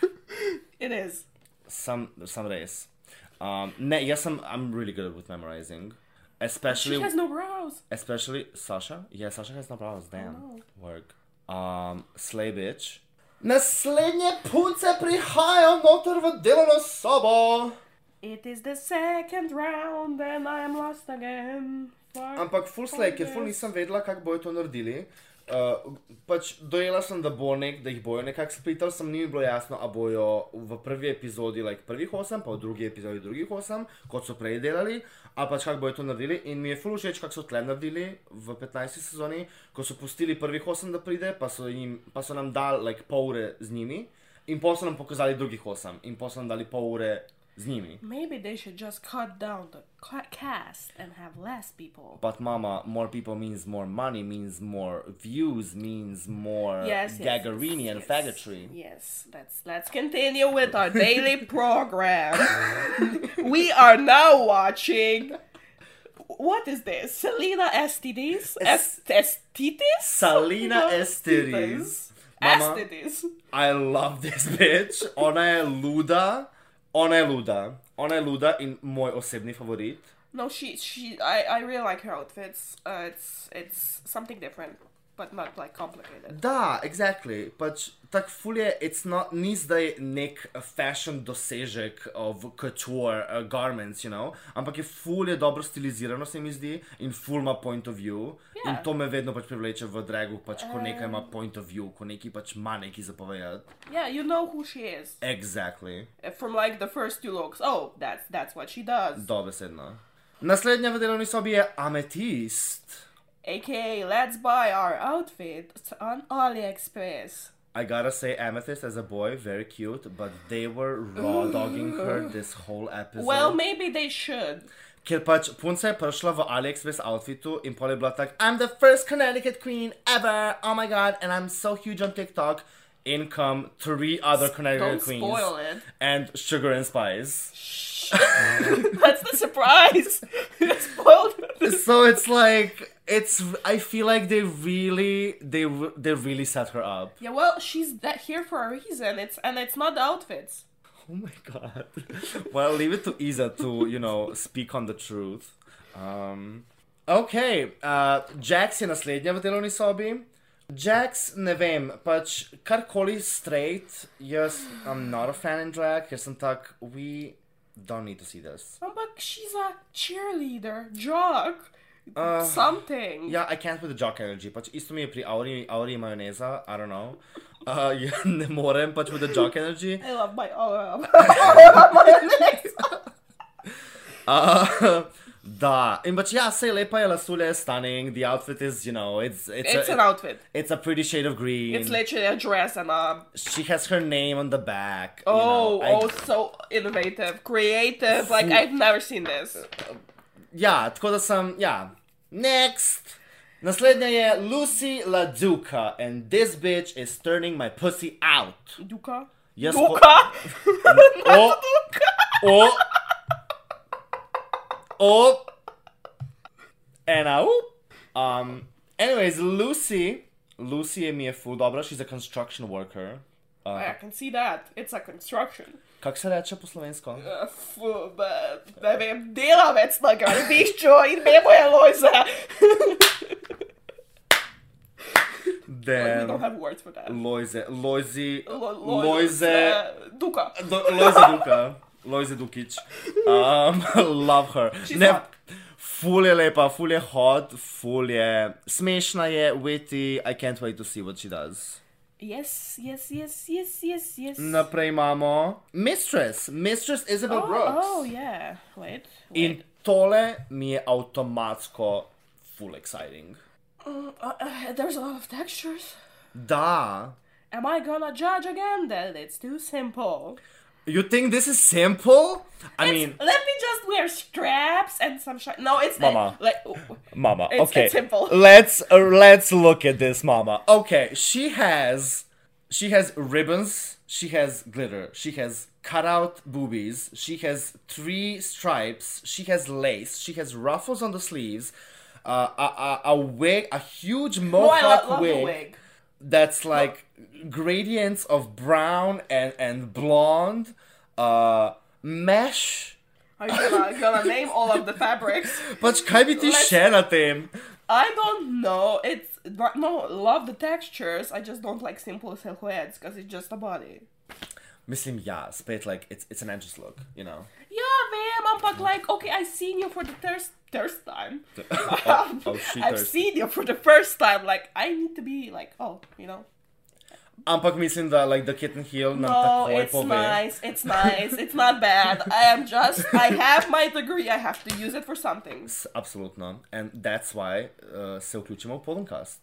Speaker 1: it is.
Speaker 2: some some days. Um, ne, yes, I'm I'm really good with memorizing, especially
Speaker 1: She has no brows.
Speaker 2: especially Sasha. Yeah, Sasha has no problems. Damn,
Speaker 1: no.
Speaker 2: work. Um, slay bitch. Naslednje punce prihajajo noter v delovno sobo.
Speaker 1: It is the second round and I am lost again. Fuck.
Speaker 2: Ampak full slay, ker full nisem vedela, kako bojo to naredili. Uh, pač dojela sem, da, bo nek, da jih bojo nekako splital, sem ni bilo jasno, a bojo v prvi epizodi like, prvih osem, pa v drugi epizodi drugih osem, kot so prej delali, ali pač kako bojo to naredili. In mi je full všeč, kako so tle naredili v 15. sezoni, ko so pustili prvih osem, da pride, pa so, jim, pa so nam dali like, pol ure z njimi, in pa so nam pokazali drugih osem, in pa so nam dali pol ure z njimi.
Speaker 1: Maybe they should just cut down the ca- cast and have less people.
Speaker 2: But mama, more people means more money, means more views, means more
Speaker 1: Yes, yes,
Speaker 2: Gagarini
Speaker 1: yes,
Speaker 2: and
Speaker 1: yes.
Speaker 2: faggotry.
Speaker 1: Yes, let's let's continue with our daily program. we are now watching. What is this? Selena STDs?
Speaker 2: Es-
Speaker 1: Es- Estitis?
Speaker 2: Salina Estiris. Mama,
Speaker 1: Estitis.
Speaker 2: I love this bitch. Ona je luda. Ona je luda. Ona je luda in moj osebni favorit.
Speaker 1: No, she she. I I really like her outfits. Uh, it's it's something different, but not like complicated.
Speaker 2: Da, exactly. Pač tak fulje, it's not, ni zdaj nek uh, fashion dosežek of couture uh, garments, you know, ampak je fulje dobro stilizirano, se mi zdi, in ful ima point of view.
Speaker 1: Ja.
Speaker 2: In to me vedno pač privleče v dragu, pač ko nekaj ima point of view, ko neki pač ima neki zapovedati.
Speaker 1: Yeah, you know who she is
Speaker 2: Exactly.
Speaker 1: Uh, from like the first two looks. Oh, that's that's what she does.
Speaker 2: Dobesedno. Naslednja v delovni sobi je ametist.
Speaker 1: AKA, let's buy our outfits on AliExpress.
Speaker 2: I gotta say, Amethyst as a boy, very cute, but they were raw dogging her this whole episode.
Speaker 1: Well, maybe they should.
Speaker 2: Ker pač punca je prišla v AliExpress outfitu in pol je bila tak, I'm the first Connecticut queen ever, oh my god, and I'm so huge on TikTok. In come three other Connecticut
Speaker 1: Don't
Speaker 2: queens
Speaker 1: spoil it.
Speaker 2: and Sugar and Spice.
Speaker 1: That's the surprise. Spoiled.
Speaker 2: So it's like it's. I feel like they really, they re- they really set her up.
Speaker 1: Yeah, well, she's that here for a reason. It's and it's not the outfits.
Speaker 2: Oh my god. well, leave it to Isa to, you know, speak on the truth. Um, ok, uh, Jax je naslednja v delovni sobi. Jax, ne vem, pač karkoli straight, jaz I'm not a fan in drag, ker sem tak, we don't need to see this.
Speaker 1: Oh, but she's a cheerleader, jock, Uh, something.
Speaker 2: Yeah, I can't with the jock energy, pač isto mi je pri Auri, Auri majoneza, I don't know. Uh, ja, ne morem pač with the jock energy.
Speaker 1: I love my aura. my
Speaker 2: Uh, da, in pač ja, sej lepa je lasulja, je stunning, the outfit is, you know, it's, it's,
Speaker 1: It's
Speaker 2: a,
Speaker 1: an outfit.
Speaker 2: it's a pretty shade of green.
Speaker 1: It's literally a dress and a
Speaker 2: she has her name on the back. you
Speaker 1: oh
Speaker 2: know, I-
Speaker 1: oh so innovative, creative. Like I've never seen this.
Speaker 2: Ja, tako da sem, ja. Next! Naslednja je Lucy LaDuca and this bitch is turning my pussy out.
Speaker 1: Duka.
Speaker 2: Jaz po-
Speaker 1: Duka. Oh.
Speaker 2: O, o, o, and a whoop. Um, anyways, Lucy, Lucy je mi je ful dobra, she's a construction worker.
Speaker 1: I can see that. It's a construction.
Speaker 2: Kak se reče po slovensko?
Speaker 1: Uh, fu- but- Ne vem, delavec na gradbišču in bebo je Lojza. We don't
Speaker 2: Damn.
Speaker 1: have words for that.
Speaker 2: Lojze, Lojzi,
Speaker 1: Lo-
Speaker 2: Lojze,
Speaker 1: Duka.
Speaker 2: Do, Lojze Duka, Lojze Dukič. Um, love her.
Speaker 1: She's
Speaker 2: Ne,
Speaker 1: hot.
Speaker 2: Ful je lepa, ful je hot, ful je smešna je, witty, I can't wait to see what she does.
Speaker 1: Yes, yes, yes, yes, yes, yes.
Speaker 2: Naprej imamo Mistress, Mistress Isabel
Speaker 1: oh,
Speaker 2: Brooks.
Speaker 1: oh, yeah. Wait. wait.
Speaker 2: In tole mi je avtomatsko full exciting.
Speaker 1: Mm, uh, uh, there's a lot of textures.
Speaker 2: Da.
Speaker 1: Am I gonna judge again? Then it's too simple.
Speaker 2: You think this is simple? I
Speaker 1: It's-
Speaker 2: mean,
Speaker 1: let me just wear straps and some shi- No, it's
Speaker 2: Mama.
Speaker 1: like
Speaker 2: Mama.
Speaker 1: It's-
Speaker 2: okay.
Speaker 1: it's simple.
Speaker 2: Let's uh, let's look at this, Mama. Okay, she has she has ribbons. She has glitter. She has cutout boobies. She has three stripes. She has lace. She has ruffles on the sleeves. Uh, a, a, a wig, a huge
Speaker 1: oh, I
Speaker 2: mohawk
Speaker 1: lo- love the wig.
Speaker 2: that's like gradients of brown and and blonde, uh, mesh.
Speaker 1: Are you gonna, gonna name all of the fabrics?
Speaker 2: Pač kaj bi ti
Speaker 1: Let's-
Speaker 2: še na tem?
Speaker 1: I don't know. It's but no love the textures. I just don't like simple silhouettes because it's just a body.
Speaker 2: Mislim, ja, spet, like, it's, it's an anxious look, you know?
Speaker 1: Yeah, man. I'm but like, okay, I seen you for the first first time.
Speaker 2: oh,
Speaker 1: Um,
Speaker 2: oh, she
Speaker 1: I've
Speaker 2: thirsty.
Speaker 1: seen you for the first time. Like, I need to be like, oh, you know.
Speaker 2: Ampak mislim, da, like, the kitten heel nam
Speaker 1: No,
Speaker 2: takoj
Speaker 1: Oh, it's
Speaker 2: pove.
Speaker 1: nice. It's nice. It's not bad. I am just. I have my degree. I have to use it for something.
Speaker 2: S- Absolutno. And that's why uh, se vključimo v podcast.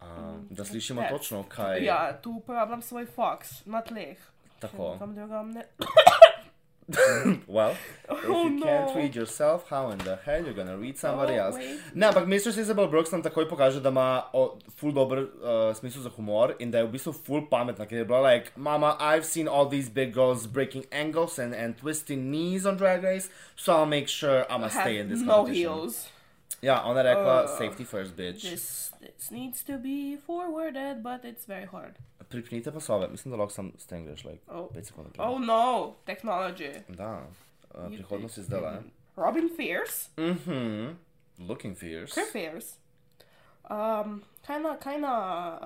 Speaker 2: Um, da slišimo
Speaker 1: that's-
Speaker 2: točno, kaj je
Speaker 1: Ja, tu uporabljam svoj fox, not leh.
Speaker 2: tako.
Speaker 1: Kam drugam ne.
Speaker 2: Well, if
Speaker 1: Oh,
Speaker 2: you
Speaker 1: no.
Speaker 2: can't read yourself, how in the hell you're gonna read somebody
Speaker 1: Oh,
Speaker 2: else?
Speaker 1: wait.
Speaker 2: Ne, ampak Mistress Isabel Brooks nam takoj pokaže, da ima o, ful dober uh, smisel za humor in da je v bistvu ful pametna, ker je bila like, mama, I've seen all these big girls breaking angles and, and twisting knees on Drag Race, so I'll make sure I'ma stay in
Speaker 1: Have
Speaker 2: this
Speaker 1: no
Speaker 2: competition.
Speaker 1: heels.
Speaker 2: Ja, ona je rekla,
Speaker 1: Uh,
Speaker 2: safety first, bitch.
Speaker 1: This this needs to be forwarded, but it's very hard.
Speaker 2: Pripnite pasove, mislim, da lahko sam stengreš, like,
Speaker 1: Oh.
Speaker 2: 5 sekund naprej.
Speaker 1: Oh no, technology.
Speaker 2: Da, uh, prihodnost je zdaj.
Speaker 1: Robin Fierce.
Speaker 2: Mhm, looking fierce.
Speaker 1: Her Fierce. Um, kinda, kinda.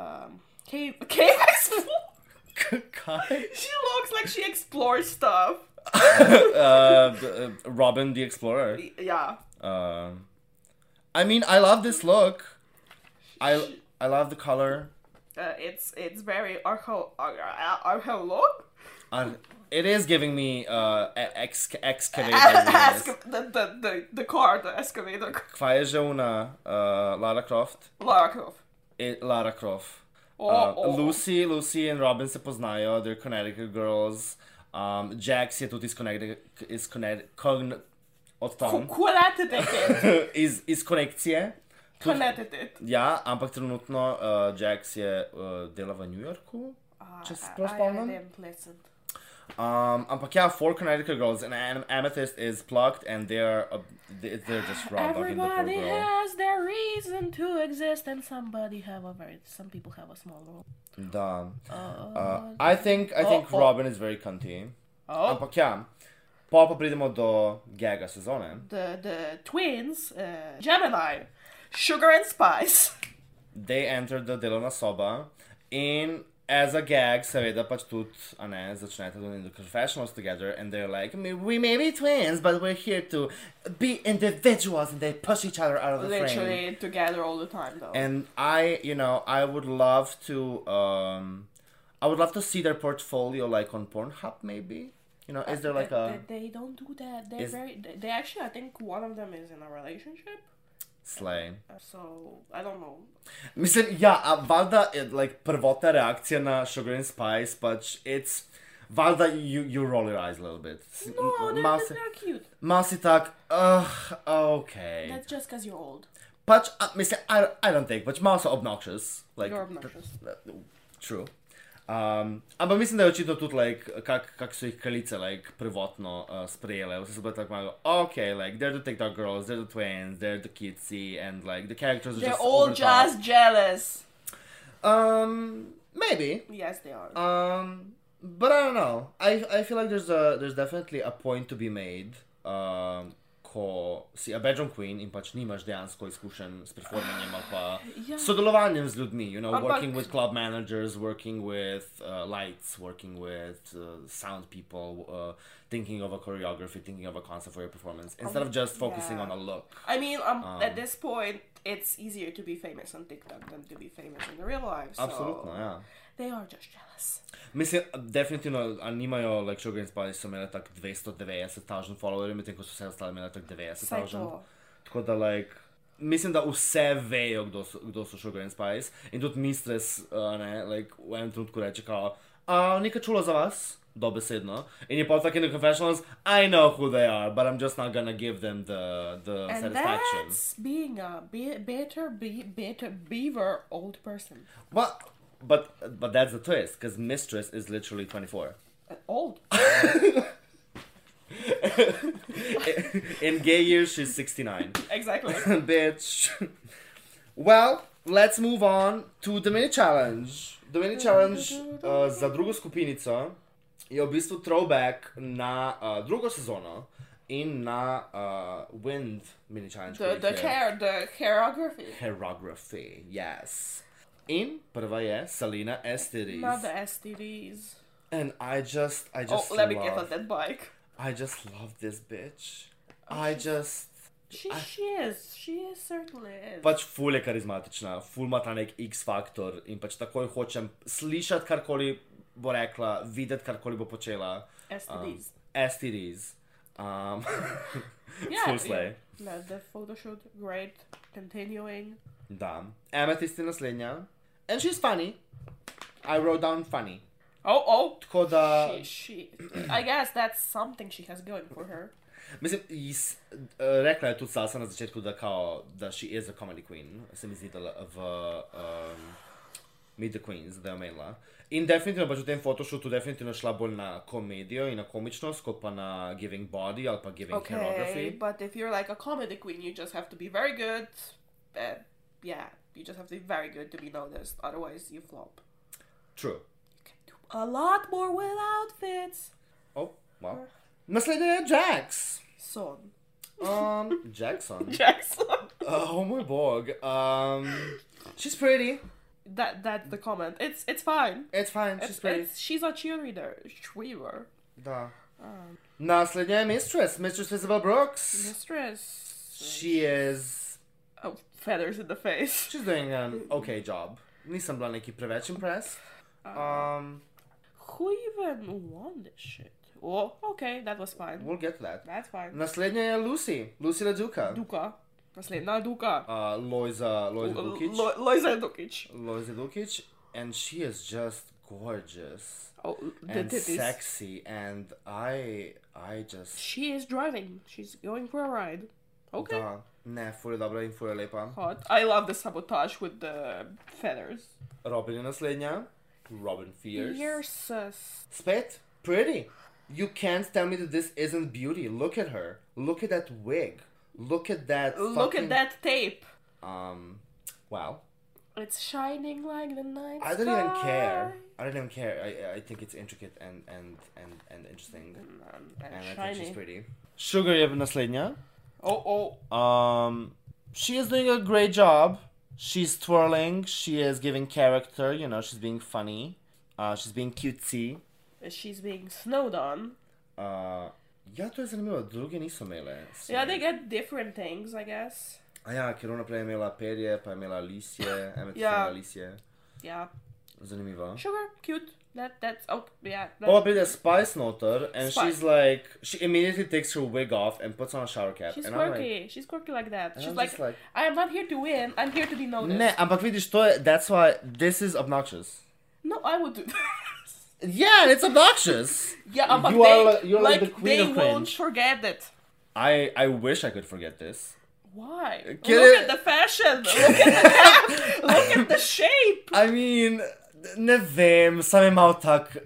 Speaker 1: Um, cave, cave. explorer.
Speaker 2: Kaj?
Speaker 1: she looks like she explores stuff.
Speaker 2: uh, uh, Robin the Explorer.
Speaker 1: Yeah.
Speaker 2: Um I mean, I love this look. I I love the color.
Speaker 1: Uh, it's it's very uh, archo ar- archeolog.
Speaker 2: I, it is giving me uh, e- ex- excavator.
Speaker 1: Ask
Speaker 2: realness.
Speaker 1: the, the the the car, the excavator,
Speaker 2: Kva je že ona? Uh, Lara Croft?
Speaker 1: Larkov.
Speaker 2: I, Lara Croft.
Speaker 1: Oh,
Speaker 2: Uh,
Speaker 1: oh.
Speaker 2: Lucy, Lucy and Robin se poznajo, they're Connecticut girls. Um, Jax je tudi iz Connecticut, iz Connecticut, Con, od tam,
Speaker 1: Connected it.
Speaker 2: iz, iz konekcije.
Speaker 1: Connected it.
Speaker 2: Ja, ampak trenutno uh, Jax je uh, dela v New Yorku.
Speaker 1: Ah.
Speaker 2: Če se prav spomnim. Um, ampak ja, four Connecticut girls and Am- Amethyst is plucked and they're uh, they- they're just raw dogging the poor
Speaker 1: Everybody
Speaker 2: girl.
Speaker 1: has their reason to exist, and somebody have a very. Some people have a small role.
Speaker 2: Da.
Speaker 1: Uh,
Speaker 2: Uh, I think I think
Speaker 1: Oh, oh.
Speaker 2: Robin is very cunty.
Speaker 1: oh,
Speaker 2: Ampak ja, pa pa pridemo do gaga sezone.
Speaker 1: the the twins, uh, Gemini, Sugar and Spice.
Speaker 2: They enter the delovna soba in as a gag, seveda pač tudi, a ne, začnete doing the confessionals together and they're like, "Me- we may be twins, but we're here to be individuals and they push each other out of the frame.
Speaker 1: Literally together all the time though.
Speaker 2: and I, you know, I would love to, um, I would love to see their portfolio like on Pornhub, maybe. You know, is there like a
Speaker 1: They, they don't do that. They're
Speaker 2: Is-
Speaker 1: very. They, they actually, I think one of them is in a relationship.
Speaker 2: slay?
Speaker 1: Uh, So I don't know.
Speaker 2: Mislim, ja, a valjda je like prvotna reakcija na Sugar and Spice, pač it's valjda you you roll your eyes a little bit. S-
Speaker 1: No,
Speaker 2: m-
Speaker 1: they're,
Speaker 2: mal
Speaker 1: they're,
Speaker 2: si-
Speaker 1: they're cute.
Speaker 2: Mal si tak, uh, okay.
Speaker 1: That's just because you're old.
Speaker 2: Pač, a, mislim, I, I don't think, pač malo so obnoxious. Like,
Speaker 1: You're obnoxious.
Speaker 2: True. Um, ampak mislim, da je očitno tudi, like, kako kak so jih kraljice like, prvotno uh, sprejele. Vse so bile tako malo, ok, like, they're the TikTok girls, they're the twins, they're the kidsy, and like, the characters are
Speaker 1: They're
Speaker 2: just.
Speaker 1: all
Speaker 2: over the top."
Speaker 1: just jealous.
Speaker 2: Um, maybe.
Speaker 1: Yes, they are.
Speaker 2: Um, but I don't know. I, I feel like there's, a, there's definitely a point to be made. Um, ko si a bedroom queen in pač nimaš dejansko izkušenj s performanjem ali pa
Speaker 1: Ja.
Speaker 2: sodelovanjem z ljudmi, you know,
Speaker 1: Ampak-
Speaker 2: working with club managers, working with uh, lights, working with uh, sound people, uh, thinking of a choreography, thinking of a concept for your performance instead of just focusing
Speaker 1: yeah.
Speaker 2: on a look.
Speaker 1: I mean, um, at this point, it's easier to be famous on TikTok than to be famous in the real life. So
Speaker 2: Absolutno, ja.
Speaker 1: They are just jealous.
Speaker 2: Mislim, definitivno, a nimajo, like Sugar and Spice so imeli tako 290 tažen followerjev, medtem ko so vse ostale imeli tako 90
Speaker 1: Saj
Speaker 2: tažen.
Speaker 1: to.
Speaker 2: Tako da, like, mislim, da vse vejo, kdo so, kdo so Sugar and Spice. In tudi mistress, uh, ne, like, v enem trenutku reče, kao, a nekaj čulo za vas, dobesedno. In je pa tako in the confessionals, I know who they are, but I'm just not gonna give them the, the
Speaker 1: And
Speaker 2: satisfaction.
Speaker 1: that's being a be- better, be- better, beaver old person.
Speaker 2: Well, but, but that's the twist, because mistress is literally 24.
Speaker 1: Uh, old.
Speaker 2: In gay years, she's 69.
Speaker 1: exactly.
Speaker 2: bitch. Well, let's move on to the mini challenge. The mini challenge uh, za drugo skupinico je v bistvu throwback na uh, drugo sezono in na uh, Wind mini challenge.
Speaker 1: The, the hair, the choreography.
Speaker 2: Choreography, yes. In prva je Salina
Speaker 1: Not the
Speaker 2: Estiris.
Speaker 1: STDs.
Speaker 2: And I just, I
Speaker 1: Oh,
Speaker 2: just
Speaker 1: let me
Speaker 2: love,
Speaker 1: get on that bike.
Speaker 2: I just love this bitch.
Speaker 1: Oh,
Speaker 2: I just,
Speaker 1: She, she is. She is certainly is.
Speaker 2: pač ful je karizmatična, ful ima ta nek X faktor in pač takoj hočem slišati karkoli bo rekla, videti karkoli bo počela. Um,
Speaker 1: STDs.
Speaker 2: STDs. Um,
Speaker 1: yeah.
Speaker 2: ful slej.
Speaker 1: No, the photo shoot, great. Continuing.
Speaker 2: Da. Amethyst je naslednja. And she's funny. I wrote down funny.
Speaker 1: Oh, oh.
Speaker 2: Tako da,
Speaker 1: She, she, I guess that's something she has going for her.
Speaker 2: mislim, jis, eh, rekla je tudi Sasa na začetku, da, kao, da she is a comedy queen. Se mi zdi, da la- v um, Meet the Queens, da je omenila. In definitivno pač v tem photoshotu definitivno šla bolj na komedijo in na komičnost, kot pa na giving body ali pa giving okay.
Speaker 1: Okay,
Speaker 2: choreography.
Speaker 1: but if you're like a comedy queen, you just have to be very good. Uh, yeah, you just have to be very good to be noticed. Otherwise, you flop.
Speaker 2: True.
Speaker 1: You can do a lot more with outfits.
Speaker 2: Oh, wow. Naslednja je Jax.
Speaker 1: Son.
Speaker 2: Um, Jackson.
Speaker 1: Jackson.
Speaker 2: Oh moj bog. Um, she's pretty.
Speaker 1: that that's the comment. It's it's fine.
Speaker 2: It's fine, she's
Speaker 1: It's,
Speaker 2: pretty.
Speaker 1: it's, she's a cheerleader. Cheerleader.
Speaker 2: Da.
Speaker 1: um.
Speaker 2: Naslednja je Mistress, Mistress Isabel Brooks.
Speaker 1: Mistress.
Speaker 2: She is.
Speaker 1: Oh, feathers in the face.
Speaker 2: She's doing an okay job. Nisem bila neki preveč impressed. Um,
Speaker 1: Who even won this shit? Oh, okay, that was fine.
Speaker 2: we'll get to that.
Speaker 1: That's fine.
Speaker 2: Naslednja je Lucy, Lucy Leduka.
Speaker 1: Duka. Naslednja Duka.
Speaker 2: Uh, Lojza, Lojza Dukic.
Speaker 1: Lo- Lojza Dukic.
Speaker 2: Lojza Dukic. And she is just gorgeous.
Speaker 1: Oh, the
Speaker 2: And
Speaker 1: titties.
Speaker 2: sexy. And I, I just...
Speaker 1: She is driving. She's going for a ride. Okay.
Speaker 2: Da, ne, ful je dobra in ful je lepa.
Speaker 1: Hot. I love the sabotage with the feathers.
Speaker 2: Robin je naslednja. Robin Fierce.
Speaker 1: Pierces.
Speaker 2: Spit, pretty. You can't tell me that this isn't beauty. Look at her. Look at that wig. Look at that.
Speaker 1: Look
Speaker 2: fucking-
Speaker 1: at that tape.
Speaker 2: Um, wow.
Speaker 1: It's shining like the night.
Speaker 2: I don't even
Speaker 1: sky.
Speaker 2: care. I don't even care. I, I think it's intricate and and and, and interesting.
Speaker 1: Um,
Speaker 2: And
Speaker 1: and
Speaker 2: I think
Speaker 1: shiny.
Speaker 2: she's pretty. Sugar je naslednja.
Speaker 1: Oh, oh.
Speaker 2: Um, she is doing a great job. She's twirling. She is giving character. You know, she's being funny. Uh, she's being cutesy.
Speaker 1: She's being snowed on.
Speaker 2: Uh, ja, to je zanimivo. Druge niso imele.
Speaker 1: Yeah, they get different things, I guess.
Speaker 2: A ja, ker ona prej je imela perje, pa je imela lisje, ena
Speaker 1: Ja.
Speaker 2: ja. lisje.
Speaker 1: Yeah.
Speaker 2: Zanimivo.
Speaker 1: Sugar, cute. That that's oh yeah. That,
Speaker 2: Pova pride Spice noter and
Speaker 1: Spice.
Speaker 2: she's like, she immediately takes her wig off and puts on a shower cap.
Speaker 1: she's
Speaker 2: and
Speaker 1: quirky. she's quirky like that. She's
Speaker 2: I'm
Speaker 1: like,
Speaker 2: just like-
Speaker 1: I am not here to win. I'm here to be
Speaker 2: I'm like,
Speaker 1: noticed.
Speaker 2: ne, ampak vidiš, to je, that's why, this is obnoxious.
Speaker 1: No, I would do that.
Speaker 2: Yeah, it's obnoxious!
Speaker 1: yeah, but
Speaker 2: You
Speaker 1: they,
Speaker 2: are li- you're like the queen
Speaker 1: they
Speaker 2: of
Speaker 1: won't
Speaker 2: cringe.
Speaker 1: forget it.
Speaker 2: I, I wish I could forget this.
Speaker 1: Why?
Speaker 2: Get
Speaker 1: Look
Speaker 2: it?
Speaker 1: at the fashion. Look at the, look at the shape.
Speaker 2: I mean, ne vem, sam je mal tak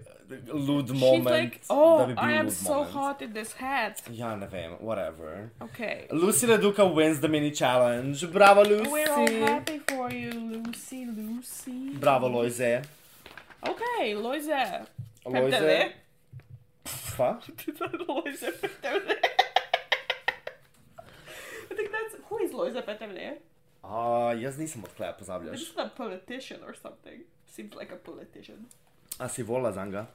Speaker 2: lud moment.
Speaker 1: She's like,
Speaker 2: da bi
Speaker 1: oh,
Speaker 2: bil
Speaker 1: I am
Speaker 2: lud
Speaker 1: so
Speaker 2: moment.
Speaker 1: hot in this hat.
Speaker 2: Ja, ne vem, whatever.
Speaker 1: Okay.
Speaker 2: Lucy Leduca wins the mini challenge. Bravo, Lucy!
Speaker 1: We're all happy for you, Lucy, Lucy.
Speaker 2: Bravo, Lojze.
Speaker 1: Okay, Loise.
Speaker 2: Lojze. Fa?
Speaker 1: Loise Peterle. Who is Lojza Peterle?
Speaker 2: A, jaz nisem odklep, pozabljaš.
Speaker 1: She's a politician or something. Seems like a politician.
Speaker 2: A si vola za njega?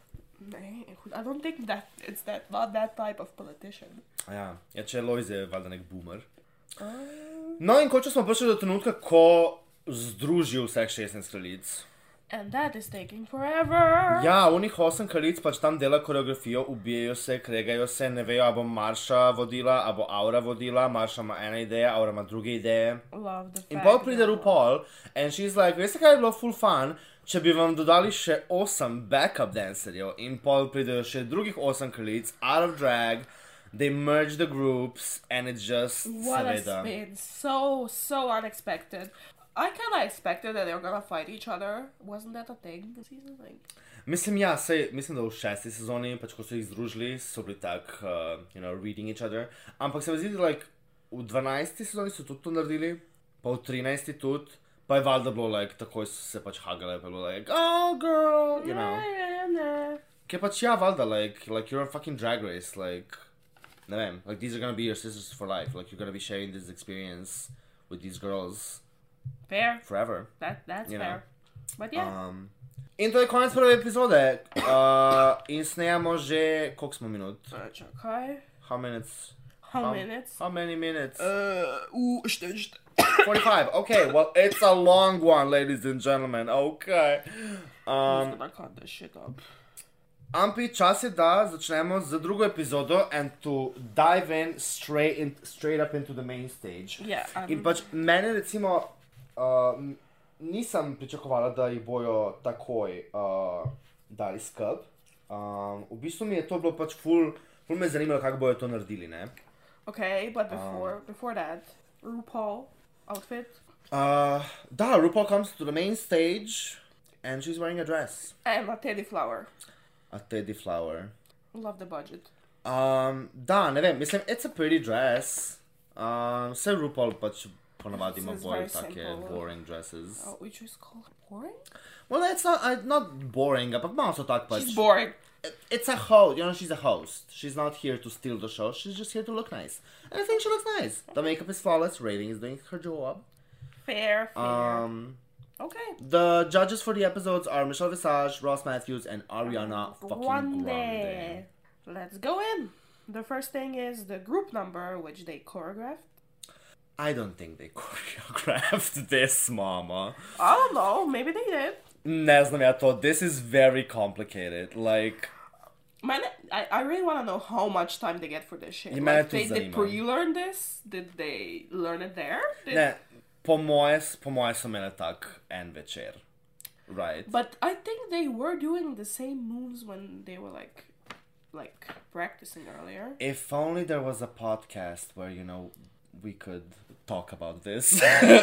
Speaker 1: Ne, I don't think that it's that not that type of politician.
Speaker 2: Ja, ja če Lojze je valjda nek boomer.
Speaker 1: Uh,
Speaker 2: No in končno smo prišli do trenutka, ko združijo vseh 16 kraljic.
Speaker 1: and that is taking forever.
Speaker 2: Ja, unih osem kraljic pač tam dela koreografijo, ubijajo se, kregajo se, ne vejo, ali bo Marša vodila, ali bo Aura vodila, Marša ima ena ideja, Aura ima druge ideje.
Speaker 1: Love the fact
Speaker 2: In pol pride
Speaker 1: that-
Speaker 2: RuPaul in she's like, veste kaj je bilo full fun, če bi vam dodali še 8 backup dancerjev in pol pridejo še drugih 8 kraljic, out of drag, they merge the groups and it just,
Speaker 1: What a
Speaker 2: seveda.
Speaker 1: spin. So, so unexpected. I kinda expected that they were gonna fight each other. Wasn't that a thing this season? Like,
Speaker 2: Mislim, ja, sej, mislim, da v šesti sezoni, pač ko so jih združili, so bili tak, uh, you know, reading each other. Ampak se mi zdi, da like, v 12. sezoni so tudi to naredili, pa v 13. tudi, pa je valjda bilo, like, takoj so se pač hagale, pa je bilo, like, oh, girl, you know.
Speaker 1: nah, nah, nah.
Speaker 2: Ker pač ja, valjda, like, like you're a fucking drag race, like, ne vem, like these are gonna be your sisters for life, like you're gonna be sharing this experience with these girls
Speaker 1: Fair.
Speaker 2: forever.
Speaker 1: That that's
Speaker 2: You know.
Speaker 1: fair. But yeah,
Speaker 2: Um, in to je konec prve epizode uh, in snemamo že, koliko smo minut?
Speaker 1: uh, čakaj.
Speaker 2: How minutes?
Speaker 1: How
Speaker 2: um,
Speaker 1: minutes?
Speaker 2: How many minutes?
Speaker 1: Uh, u, šte, šte.
Speaker 2: 45, okay, well it's a long one, ladies and gentlemen, okay. Um,
Speaker 1: Um, I cut this shit up.
Speaker 2: Ampi, čas je, da začnemo z drugo epizodo in to dive in straight, in, straight up into the main stage.
Speaker 1: Yeah, um,
Speaker 2: In pač mene, recimo, uh, m- nisem pričakovala, da jih bojo takoj uh, dali skrb. Um, v bistvu mi je to bilo pač ful, ful me je zanimalo, kako bojo to naredili. Ne?
Speaker 1: Okay, but
Speaker 2: Um,
Speaker 1: before before that, RuPaul outfit
Speaker 2: Uh, da, RuPaul comes to the main stage and she's wearing a dress.
Speaker 1: and a teddy flower.
Speaker 2: A teddy flower.
Speaker 1: Love the budget.
Speaker 2: Um, da, ne vem, mislim, it's a pretty dress. Um, vse RuPaul pač ponavadi ima
Speaker 1: This is
Speaker 2: bolj
Speaker 1: very
Speaker 2: take
Speaker 1: simple.
Speaker 2: boring dresses.
Speaker 1: Oh, which is called boring.
Speaker 2: Well, it's not, uh, not boring, ampak malo so tak pač.
Speaker 1: She's boring.
Speaker 2: It- it's a host, you know, she's a host. She's not here to steal the show, she's just here to look nice. And I think she looks nice. The makeup is flawless, Rating is doing her job.
Speaker 1: Fair, fair.
Speaker 2: Um,
Speaker 1: okay.
Speaker 2: the judges for the episodes are Michelle Visage, Ross Matthews, and Ariana fucking
Speaker 1: One
Speaker 2: Grande.
Speaker 1: day. Let's go in. The first thing is the group number, which they choreographed.
Speaker 2: I don't think they choreographed this, mama.
Speaker 1: I don't know. Maybe they did.
Speaker 2: Ne znam ja to, this is very complicated. Like,
Speaker 1: Man, I, I really want to know how much time they get for this shit.
Speaker 2: You
Speaker 1: Like,
Speaker 2: managed to
Speaker 1: they, they
Speaker 2: zanima.
Speaker 1: pre-learn this? Did they learn it there? Did-
Speaker 2: ne, po moje, po moje so imeli tak en večer. Right.
Speaker 1: But I think they were doing the same moves when they were like, like practicing earlier.
Speaker 2: If only there was a podcast where, you know, we could talk about this.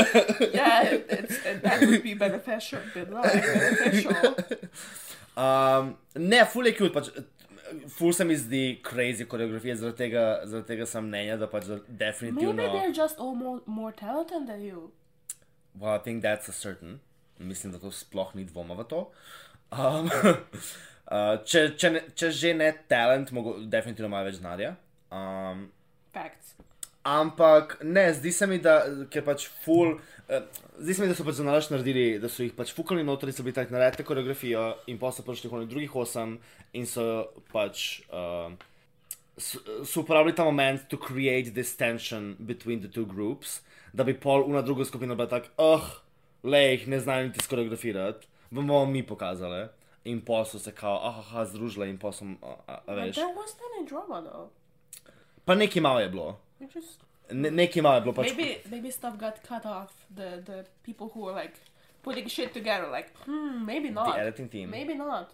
Speaker 1: Yeah, it, it's, it, that would be beneficial. Good luck, beneficial.
Speaker 2: Um, ne, ful je cute, pač, eh, ful se mi zdi crazy koreografija, zaradi tega, zaradi tega sem mnenja, da pač
Speaker 1: Maybe
Speaker 2: definitivno...
Speaker 1: they're just all more, more talented than you.
Speaker 2: Well, I think that's a certain. Mislim, da to sploh ni dvoma v to. Um, uh, če, če, ne, če že ne talent, mogo, definitivno ima več denarja. Um,
Speaker 1: Facts.
Speaker 2: ampak ne, zdi se mi, da ker pač full. Uh, zdi se mi, da so pač za nalaž naredili, da so jih pač fukali noter in so bili tako naredili koreografijo, in pa so prišli oni drugih osem in so pač. Uh, so so uporabili ta moment to create this tension between the two groups, da bi pol una druga skupina bila tak, ah, le jih ne znajo niti skoreografirati, vam bomo mi pokazali. In pol so se kao, ah, ah, ah, združili in pol so, a, a, a
Speaker 1: But
Speaker 2: veš.
Speaker 1: there wasn't any drama though.
Speaker 2: Pa nekaj malo je bilo,
Speaker 1: You just
Speaker 2: ne, nekaj malo je bilo pač.
Speaker 1: maybe maybe stuff got cut off. The the people who were like putting shit together, like hmm, maybe
Speaker 2: The
Speaker 1: not.
Speaker 2: editing team.
Speaker 1: Maybe not.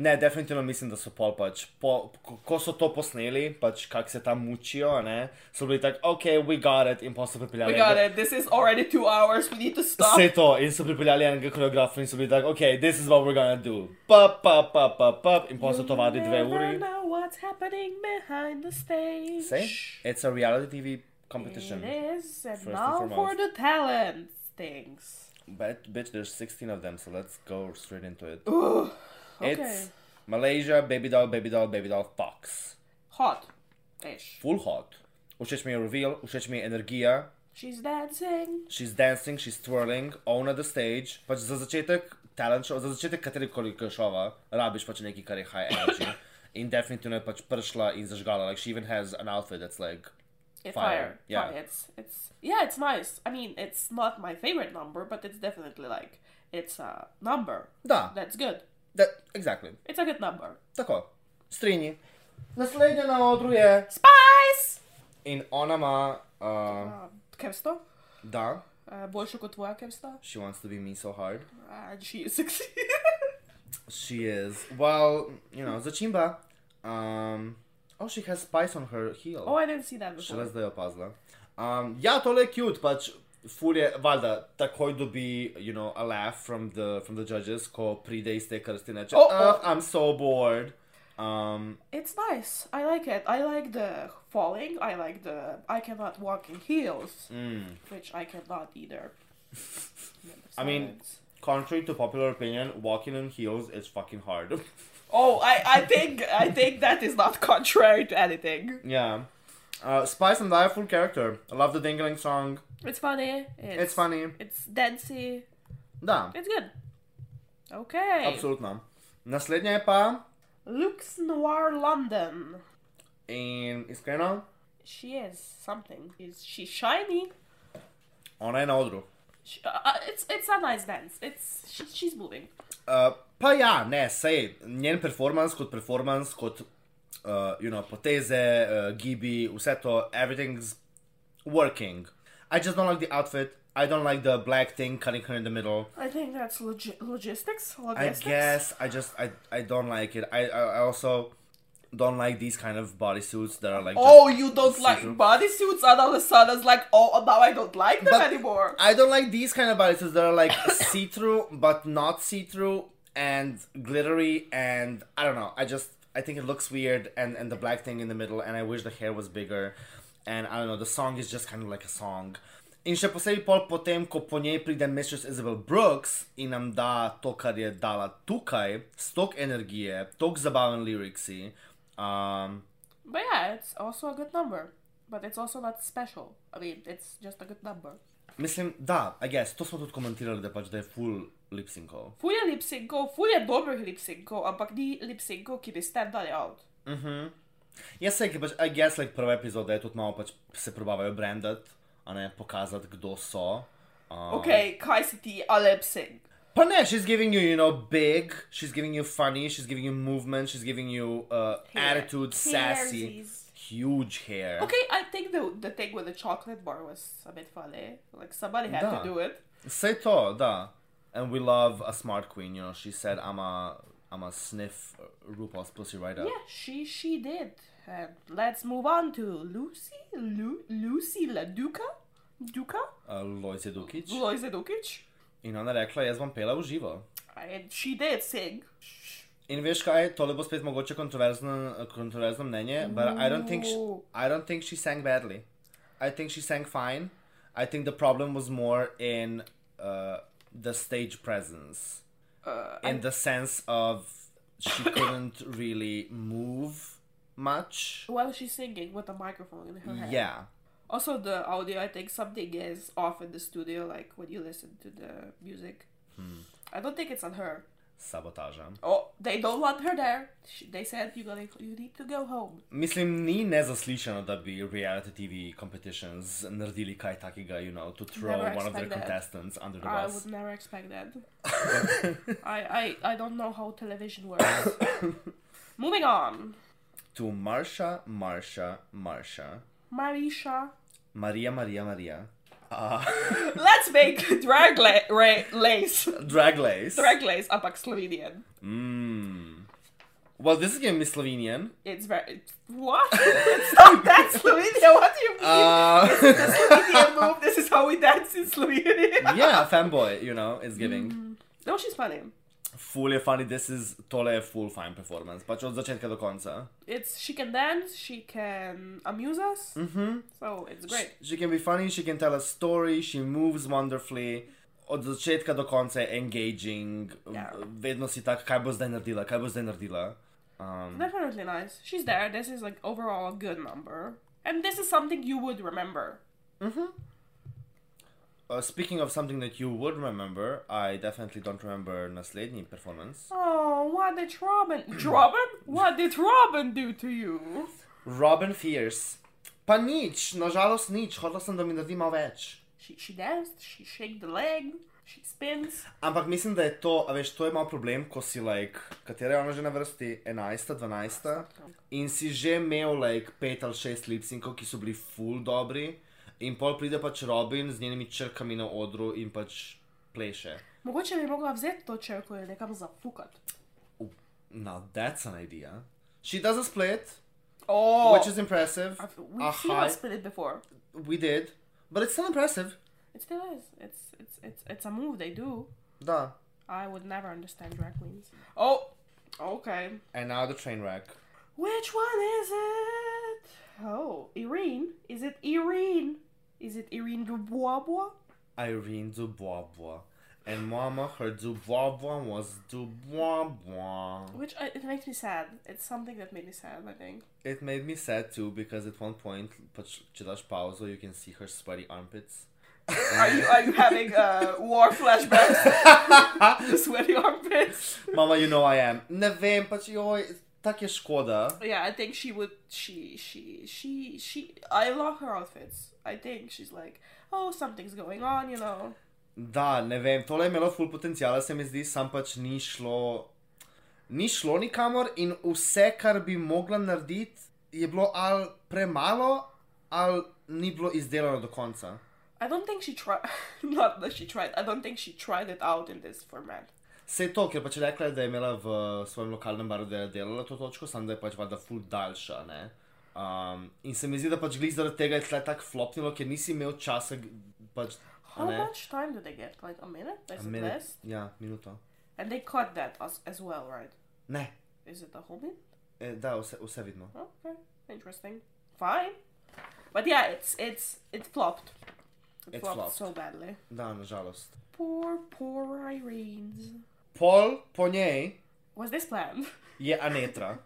Speaker 2: Ne, definitivno mislim, da so pol pač, po, ko- ko so to posneli, pač kako se tam mučijo, a ne, so bili tako, ok, we got it, in pa so pripeljali.
Speaker 1: We
Speaker 2: enega-
Speaker 1: got it. This is already two hours. We need to stop.
Speaker 2: Vse to in so pripeljali enega koreografa in so bili tak, ok, this is what we're gonna do. Pa, pa, pa, pa, pa, in pa so to vadili dve
Speaker 1: Never
Speaker 2: uri.
Speaker 1: know what's happening behind the stage.
Speaker 2: Sej, it's a reality TV
Speaker 1: It
Speaker 2: competition.
Speaker 1: is, and
Speaker 2: First and
Speaker 1: now for
Speaker 2: foremost.
Speaker 1: the talent things.
Speaker 2: But, bitch, there's 16 of them, so let's go straight into it.
Speaker 1: Ugh. Okay.
Speaker 2: It's Malaysia, Baby Doll, Baby Doll, Baby Doll, Fox.
Speaker 1: Hot. Ish.
Speaker 2: Full hot. Všeč mi je reveal, všeč mi je energija,
Speaker 1: She's dancing.
Speaker 2: She's dancing, she's twirling, ona the stage. Pač za začetek talent show, za začetek katerikoli šova, rabiš pač nekaj, kar je high energy. In definitivno je pač prišla in zažgala. Like, she even has an outfit that's like
Speaker 1: Yeah,
Speaker 2: Fire,
Speaker 1: fire.
Speaker 2: yeah.
Speaker 1: Fire. It's it's yeah, it's nice. I mean, it's not my favorite number, but it's definitely like it's a number.
Speaker 2: Da,
Speaker 1: That's good.
Speaker 2: that, exactly.
Speaker 1: It's a good number.
Speaker 2: Tako, strinji. Naslednja na odru je.
Speaker 1: Spice.
Speaker 2: In ona ima, uh,
Speaker 1: Uh, Kevsto,
Speaker 2: da,
Speaker 1: uh, boljše kot tvoja Kevsta,
Speaker 2: she wants to be me so hard.
Speaker 1: Ah, and she is sexy.
Speaker 2: She is. Well, you know, Zachimba. Um, oh, she has spice on her heel.
Speaker 1: oh, I didn't see that
Speaker 2: Šele
Speaker 1: before.
Speaker 2: zdaj je opazila. Um, ja, tole je cute, pač ful je, valjda, takoj dobi, you know, a laugh from the, from the judges, ko pride iz te krsti in reče,
Speaker 1: Oh,
Speaker 2: oh,
Speaker 1: oh.
Speaker 2: I'm so bored. Um,
Speaker 1: It's nice. I like it. I like the falling. I like the I cannot walk in heels,
Speaker 2: mm.
Speaker 1: which I cannot either.
Speaker 2: I mean- Contrary to popular opinion, walking on heels is fucking hard.
Speaker 1: oh, I, I think I think that is not contrary to anything.
Speaker 2: yeah. Uh, Spice and I, full character. I love the dingling song.
Speaker 1: It's funny.
Speaker 2: It's, funny.
Speaker 1: It's dancey.
Speaker 2: Da,
Speaker 1: It's good. Okay.
Speaker 2: absolutno. Naslednja je pa,
Speaker 1: Lux Noir London.
Speaker 2: in iskreno,
Speaker 1: She is something. She's, she's shiny.
Speaker 2: ona je na odru.
Speaker 1: She, uh, uh, it's it's a nice dance. It's she, she's moving.
Speaker 2: Uh, pa ja, ne, sej njen performance kot performance, kot uh, you know, poteze, uh, gibi, vse to, everything's working. I just don't like the outfit, I don't like the black thing cutting her in the middle.
Speaker 1: I think that's logi- logistics.
Speaker 2: I
Speaker 1: Logistics.
Speaker 2: guess I just I, I don't like it. I, I I also don't like these kind of bodysuits that are like. just-
Speaker 1: Oh, you don't like
Speaker 2: See-through.
Speaker 1: bodysuits, and all of a sudden it's like, oh, now I don't like them
Speaker 2: But-
Speaker 1: anymore.
Speaker 2: I don't like these kind of bodysuits that are like see through but not see through and glittery and I don't know. I just I think it looks weird and and the black thing in the middle and I wish the hair was bigger and I don't know. The song is just kind of like a song. In še posebej pol potem, ko po njej pride Mistress Isabel Brooks in nam da to, kar je dala tukaj, s tok energije, tok zabaven liriksi. Um,
Speaker 1: But yeah, it's also a good number. But it's also not special. I mean, it's just a good number.
Speaker 2: mislim, da, I guess, to smo tudi komentirali, da pač da je full lipsinkov.
Speaker 1: Ful je lip syncov, ful je dobrih lip syncov, ampak ni lip syncov, ki bi standali out.
Speaker 2: Jaz se, ki pač, I guess, like prva epizoda je tudi malo pač se probavajo brandati, a ne pokazati, kdo so. Um,
Speaker 1: Ok, kaj si ti, a lip sync?
Speaker 2: Pa ne, she's giving you, you know, big, she's giving you funny, she's giving you movement, she's giving you uh, attitude, sassy,
Speaker 1: Hairsies.
Speaker 2: huge hair.
Speaker 1: Okay, I think the the thing with the chocolate bar was a bit funny. Like somebody had
Speaker 2: Da.
Speaker 1: to do it.
Speaker 2: Say to, da. And we love a smart queen, you know, she said, I'm a, I'm a sniff uh, RuPaul's pussy right up.
Speaker 1: Yeah, she she did. And let's move on to Lucy, Lu, Lucy La Duca, Duca,
Speaker 2: Uh, Lojze Dukic.
Speaker 1: Loise Dukic.
Speaker 2: In ona je rekla, jaz bom pela v živo.
Speaker 1: And she did sing. Sh-
Speaker 2: In veš kaj, tole bo spet mogoče kontroverzno, kontroverzno mnenje, but I don't think she,
Speaker 1: Ooh.
Speaker 2: I don't think she sang badly. I think she sang fine. I think the problem was more in uh, the stage presence,
Speaker 1: Uh,
Speaker 2: in the sense of she couldn't really move much.
Speaker 1: while she's singing with a microphone in her hand.
Speaker 2: Yeah,
Speaker 1: Also, the audio, I think something is off in the studio, like when you listen to the music.
Speaker 2: Hmm.
Speaker 1: I don't think it's on her.
Speaker 2: sabotaža.
Speaker 1: Oh, they don't want her there. She, they said you gotta, you need to go home.
Speaker 2: Mislim, ni nezaslišano, da bi reality TV competitions naredili kaj takega, you know, to throw
Speaker 1: Never
Speaker 2: one of their
Speaker 1: expect that.
Speaker 2: contestants under the
Speaker 1: I
Speaker 2: bus.
Speaker 1: would never expect that. I, I, I don't know how television works. Moving on,
Speaker 2: to Marsha, Marsha, Marsha,
Speaker 1: Marisha.
Speaker 2: Maria, Maria, Maria, uh,
Speaker 1: Let's make drag la- ra- lace.
Speaker 2: Draglace.
Speaker 1: Drag lace, ampak Slovenian.
Speaker 2: mm. Well, this is giving me Slovenian.
Speaker 1: It's very what? It's not that Slovenian. What do you mean?
Speaker 2: Uh,
Speaker 1: Slovenian move. This is how we dance in Slovenia. Mm.
Speaker 2: yeah, fanboy, you know,
Speaker 1: Hmm.
Speaker 2: it's giving.
Speaker 1: No, she's funny.
Speaker 2: Full je funny, this is, tole je full fine performance, pač od začetka do konca.
Speaker 1: It's she can dance. She can amuse us.
Speaker 2: Mhm.
Speaker 1: So it's great.
Speaker 2: She can be funny, she can tell a story, she moves wonderfully. Od začetka do konca je engaging,
Speaker 1: Ja.
Speaker 2: vedno si tak, kaj bo zdaj naredila, kaj bo zdaj naredila. Um,
Speaker 1: Definitely nice. She's there. This is like overall a good number, and this is something you would remember.
Speaker 2: mhm. uh, speaking of something that you would remember, I definitely don't remember naslednji performance.
Speaker 1: Oh, what did Robin? Robin? What did Robin do to you?
Speaker 2: Robin Fierce. Pa nič, nažalost nič, hotel sem, da mi naredi malo več.
Speaker 1: She she danced. She shake the leg. She spins.
Speaker 2: Ampak mislim, da je to, a veš, to je malo problem, ko si, like, katera je ona že na vrsti, 11, 12, in si že imel, like, 5 ali 6 lipsinkov, ki so bili full dobri, in pol pride pač Robin z njenimi črkami na odru in pač pleše.
Speaker 1: Mogoče bi mogla vzeti to črko in nekam zafukati.
Speaker 2: Oh, now that's an idea. She does a split,
Speaker 1: Oh,
Speaker 2: which is impressive.
Speaker 1: we've seen
Speaker 2: Aha,
Speaker 1: us split it before.
Speaker 2: we did, but it's still impressive.
Speaker 1: It still is. It's it's it's it's a move they do.
Speaker 2: Da.
Speaker 1: I would never understand drag queens. Oh, okay.
Speaker 2: And now the train wreck.
Speaker 1: Which one is it? Oh, Irene. Is it Irene? Is it Irene Dubois?
Speaker 2: Irene Dubois. And mama, her Dubois was Dubois.
Speaker 1: Which I, it makes me sad. It's something that made me sad. I think.
Speaker 2: It made me sad too because at one point, pač, če daš pauzo, you can see her sweaty armpits.
Speaker 1: Are you are you having uh, war flashbacks? Sweaty armpits.
Speaker 2: Mama, you know I am. Ne vem, pač joj, tak je škoda.
Speaker 1: Yeah, I think she would. She she she she. I love her outfits. I think she's like, oh, something's going on. You know.
Speaker 2: Da, ne vem, tole je imelo full potencijala, se mi zdi, sam pač ni šlo, ni šlo nikamor in vse, kar bi mogla narediti, je bilo ali premalo, ali ni bilo izdelano do konca.
Speaker 1: I don't think she tried. Not that she tried. I don't think she tried it out in this format.
Speaker 2: Se je to, ker pač je rekla, da je imela v svojem lokalnem baru, da je delala to točko, samo da je pač vada ful daljša. Ne? Um, in se mi zdi, da pač glej zaradi tega je tle tako flopnilo, ker nisi imel časa. g- Pač, a
Speaker 1: How
Speaker 2: ne,
Speaker 1: much time do they get? Like a minute? Is it
Speaker 2: minut-
Speaker 1: less?
Speaker 2: Ja, minuto.
Speaker 1: And they cut that as, as well, right?
Speaker 2: Ne,
Speaker 1: Is it a whole minute?
Speaker 2: e, da, vse, vse vidno.
Speaker 1: Okay, interesting. Fine. But yeah, it's it's it flopped. It,
Speaker 2: It
Speaker 1: flopped,
Speaker 2: flopped.
Speaker 1: so badly.
Speaker 2: Da, nažalost.
Speaker 1: Poor, poor Irene's.
Speaker 2: Pol po njej
Speaker 1: Was this planned?
Speaker 2: je Anetra.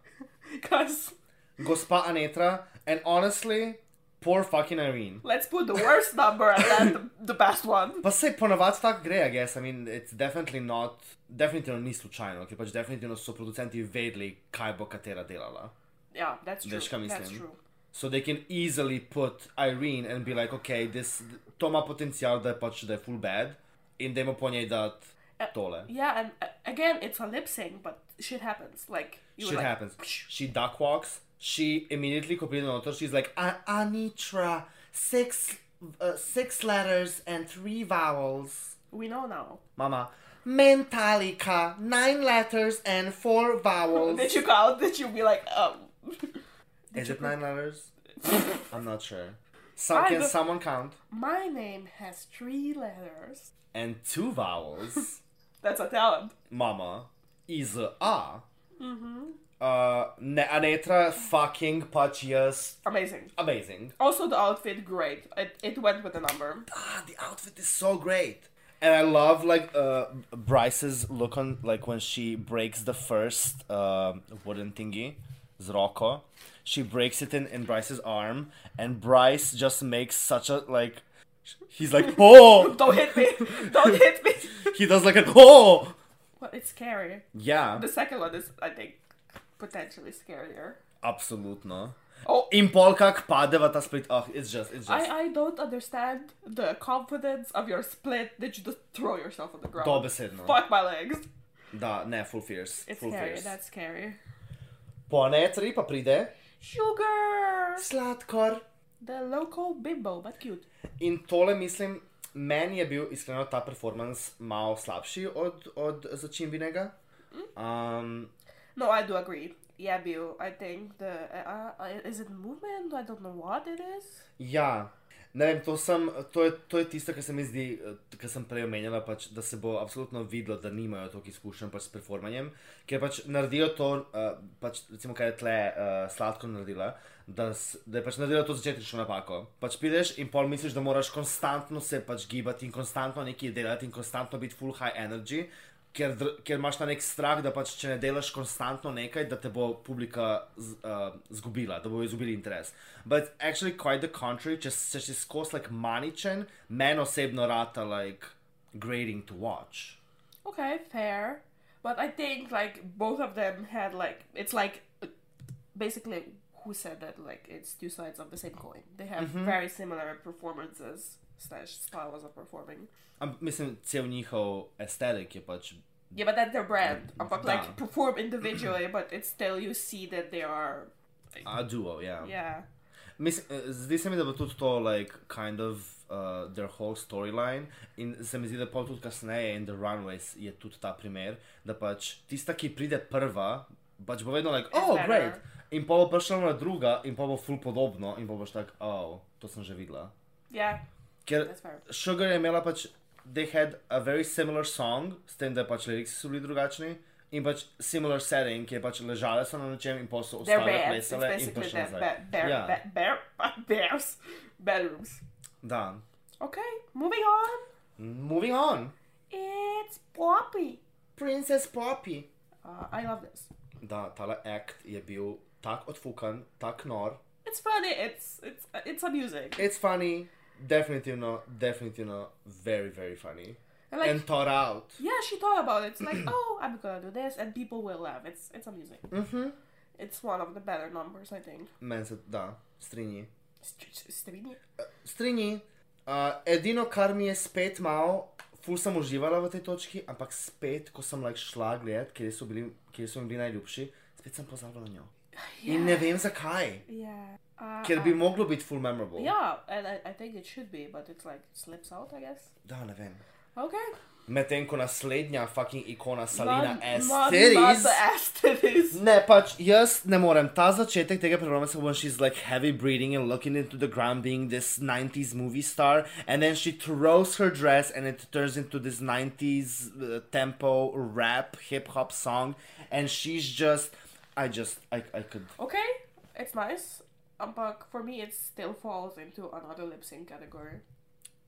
Speaker 1: Because
Speaker 2: Gospa Anetra, and honestly, poor fucking Irene.
Speaker 1: let's put the worst number and then the, the best one.
Speaker 2: Pa se ponavadi tako gre, I guess. I mean, it's definitely not, definitivno ni slučajno, ker pač definitivno so producenti vedeli, kaj bo katera delala.
Speaker 1: Yeah, that's true.
Speaker 2: Veš, kaj
Speaker 1: That's
Speaker 2: mislim?
Speaker 1: true.
Speaker 2: So they can easily put Irene and be like, ok, this, to ima potencial, da je pač da je full bad in da ima po njej dati tole.
Speaker 1: Yeah, and uh, again, it's a lip sync, but shit happens. Like you
Speaker 2: Shit
Speaker 1: were like,
Speaker 2: happens. She duck walks, she immediately, ko pride noter, she's like, "A- Anitra, six, uh, six letters and three vowels.
Speaker 1: We know now.
Speaker 2: Mama, Mentalica, nine letters and four vowels.
Speaker 1: Did you count? Did you be like, um?
Speaker 2: Is it nine letters? I'm not sure. Some, can
Speaker 1: Either-
Speaker 2: someone count?
Speaker 1: My name has three letters.
Speaker 2: And two vowels.
Speaker 1: That's a talent.
Speaker 2: Mama iz A.
Speaker 1: Mm-hmm.
Speaker 2: Uh, ne, Anetra, fucking pač jaz.
Speaker 1: Amazing.
Speaker 2: Amazing.
Speaker 1: Also, the outfit, great. It, it went with the number.
Speaker 2: Ah, the outfit is so great. And I love like uh, Bryce's look on like when she breaks the first um wooden thingy, z roko. She breaks it in, in Bryce's arm, and Bryce just makes such a like. He's like oh.
Speaker 1: Don't hit me! Don't hit me!
Speaker 2: He does like an oh.
Speaker 1: well, it's scary.
Speaker 2: Yeah,
Speaker 1: The second one is, I think, potentially scarier.
Speaker 2: absolutno.
Speaker 1: Oh,
Speaker 2: In pol kak pade v ta split, ah, it's just, it's just.
Speaker 1: I, I don't understand the confidence of your split that you just throw yourself on the ground.
Speaker 2: Dobesedno.
Speaker 1: Fuck my legs.
Speaker 2: Da, ne, full fierce.
Speaker 1: It's
Speaker 2: full
Speaker 1: scary.
Speaker 2: fierce.
Speaker 1: That's scary.
Speaker 2: Po netri pa pride
Speaker 1: Sugar!
Speaker 2: sladkor.
Speaker 1: The local bimbo, but cute.
Speaker 2: In tole mislim, meni je bil iskreno ta performance malo slabši od, od začimbinega. Um,
Speaker 1: No, I do agree. Yeah, Bill. I think the uh, uh, is it movement? I don't know what it is.
Speaker 2: ja, ne vem, to, sem, to, je, to je tisto, kar se mi zdi, eh, kar sem prej omenjala, pač, da se bo absolutno videlo, da nimajo toliko izkušenj pač s performanjem, ker pač naredijo to, uh, pač, recimo, kaj je tle uh, sladko naredila. Da, s, da je pač naredila to začetnično napako. Pač prideš in pol misliš, da moraš konstantno se pač gibati in konstantno nekaj delati in konstantno biti full high energy, ker, dr- ker imaš ta nek strah, da pač, če ne delaš konstantno nekaj, da te bo publika z, uh, zgubila, da bo izgubili interes. But it's actually quite the contrary, če se si skozi like, maničen, meni osebno rata like grading to watch.
Speaker 1: Okay, fair. But I think like both of them had like it's like uh, basically who said that like it's two sides of the same coin. They have
Speaker 2: Mm-hmm.
Speaker 1: very similar performances slash styles of performing.
Speaker 2: Am, mislim, cel njihov estetik je pač.
Speaker 1: Yeah, but that's their brand.
Speaker 2: Mm,
Speaker 1: But
Speaker 2: yeah.
Speaker 1: like perform individually, but it's still you see that they are
Speaker 2: A duo, ja.
Speaker 1: yeah.
Speaker 2: Mislim, eh, zdi se mi, da bo tudi to, like, kind of uh, their whole storyline. In se mi zdi, da pol tudi kasneje in The Runways je tudi ta primer, da pač tista, ki pride prva, pač bo vedno, like, oh,
Speaker 1: better."
Speaker 2: great. In pa bo prišla ona druga, in pa bo ful podobno, in pa boš tak, oh, to sem že videla.
Speaker 1: Yeah.
Speaker 2: Ker
Speaker 1: That's fair.
Speaker 2: Sugar je imela pač, they had a very similar song, s tem, da pač liriki so bili drugačni. In pač similar setting, ki je pač ležala so na nečem in pa so
Speaker 1: Their
Speaker 2: ostale
Speaker 1: bands. It's
Speaker 2: plesale in
Speaker 1: basically
Speaker 2: prišla
Speaker 1: their
Speaker 2: nazaj.
Speaker 1: ba- bear,
Speaker 2: Ja,
Speaker 1: ba- bear, bears bedrooms.
Speaker 2: da.
Speaker 1: Okay, moving on.
Speaker 2: Moving on.
Speaker 1: It's Poppy.
Speaker 2: Princess Poppy.
Speaker 1: Uh, I love this.
Speaker 2: Da, tale akt je bil tak odfukan, tak nor.
Speaker 1: It's funny. It's it's it's amusing.
Speaker 2: It's funny, definitivno, definitivno, very, very funny.
Speaker 1: And like
Speaker 2: And thought out.
Speaker 1: yeah, she thought about it. It's like oh, I'm gonna do this, and people will laugh. It's it's amusing.
Speaker 2: Mhm.
Speaker 1: It's one of the better numbers, I think.
Speaker 2: Meni se, da, strinji.
Speaker 1: St- st- Strinji.
Speaker 2: Strinji. Uh, edino, kar mi je spet malo, ful sem uživala v tej točki, ampak spet, ko sem like, šla gledat, kje so, bili, kje so mi bili najljubši, spet sem pozabila na njo. In ne vem zakaj.
Speaker 1: Yeah. Uh,
Speaker 2: Ker bi moglo biti full memorable.
Speaker 1: Yeah, and I, I think it should be, but it's like slips out, I guess.
Speaker 2: Da, ne vem.
Speaker 1: Okay.
Speaker 2: Medtem ko naslednja fucking ikona Salina
Speaker 1: Not-
Speaker 2: S.
Speaker 1: not- not
Speaker 2: Series.
Speaker 1: the Asteris.
Speaker 2: Ne, pač jaz ne morem. Ta začetek tega programa se when she's like heavy breathing and looking into the ground being this 90s movie star and then she throws her dress and it turns into this 90s uh, tempo rap hip hop song and she's just I just I, I could
Speaker 1: Okay, it's nice. Um, but for me, it still falls into another lip sync category.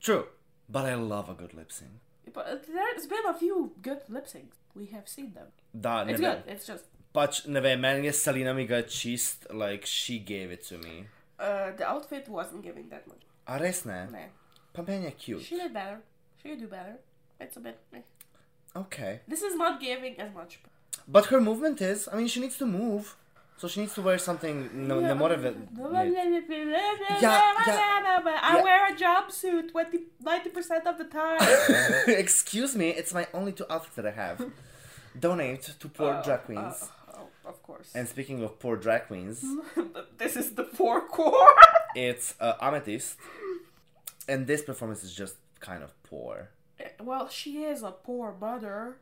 Speaker 2: True, but I love a good lip sync.
Speaker 1: But uh, there's been a few good lip syncs. We have seen them.
Speaker 2: Da, ne
Speaker 1: It's
Speaker 2: vem.
Speaker 1: good. It's just
Speaker 2: Pač ne vem, meni je Salina mi ga čist like she gave it to me.
Speaker 1: uh, the outfit wasn't giving that much.
Speaker 2: A res ne?
Speaker 1: Nah.
Speaker 2: Pa meni je cute.
Speaker 1: She did better. She could do better. It's a bit. eh.
Speaker 2: Okay.
Speaker 1: This is not giving as much.
Speaker 2: But her movement is, I mean, she needs to move. So she needs to wear something. No, ne more of it.
Speaker 1: I
Speaker 2: yeah.
Speaker 1: wear a jumpsuit 20, 90% of the time.
Speaker 2: Excuse me, it's my only two outfits that I have. Donate to poor
Speaker 1: Oh,
Speaker 2: drag queens.
Speaker 1: oh, oh, of course.
Speaker 2: And speaking of poor drag queens,
Speaker 1: this is the four core.
Speaker 2: it's uh, Amethyst. And this performance is just kind of poor.
Speaker 1: Eh, Well, she is a poor mother.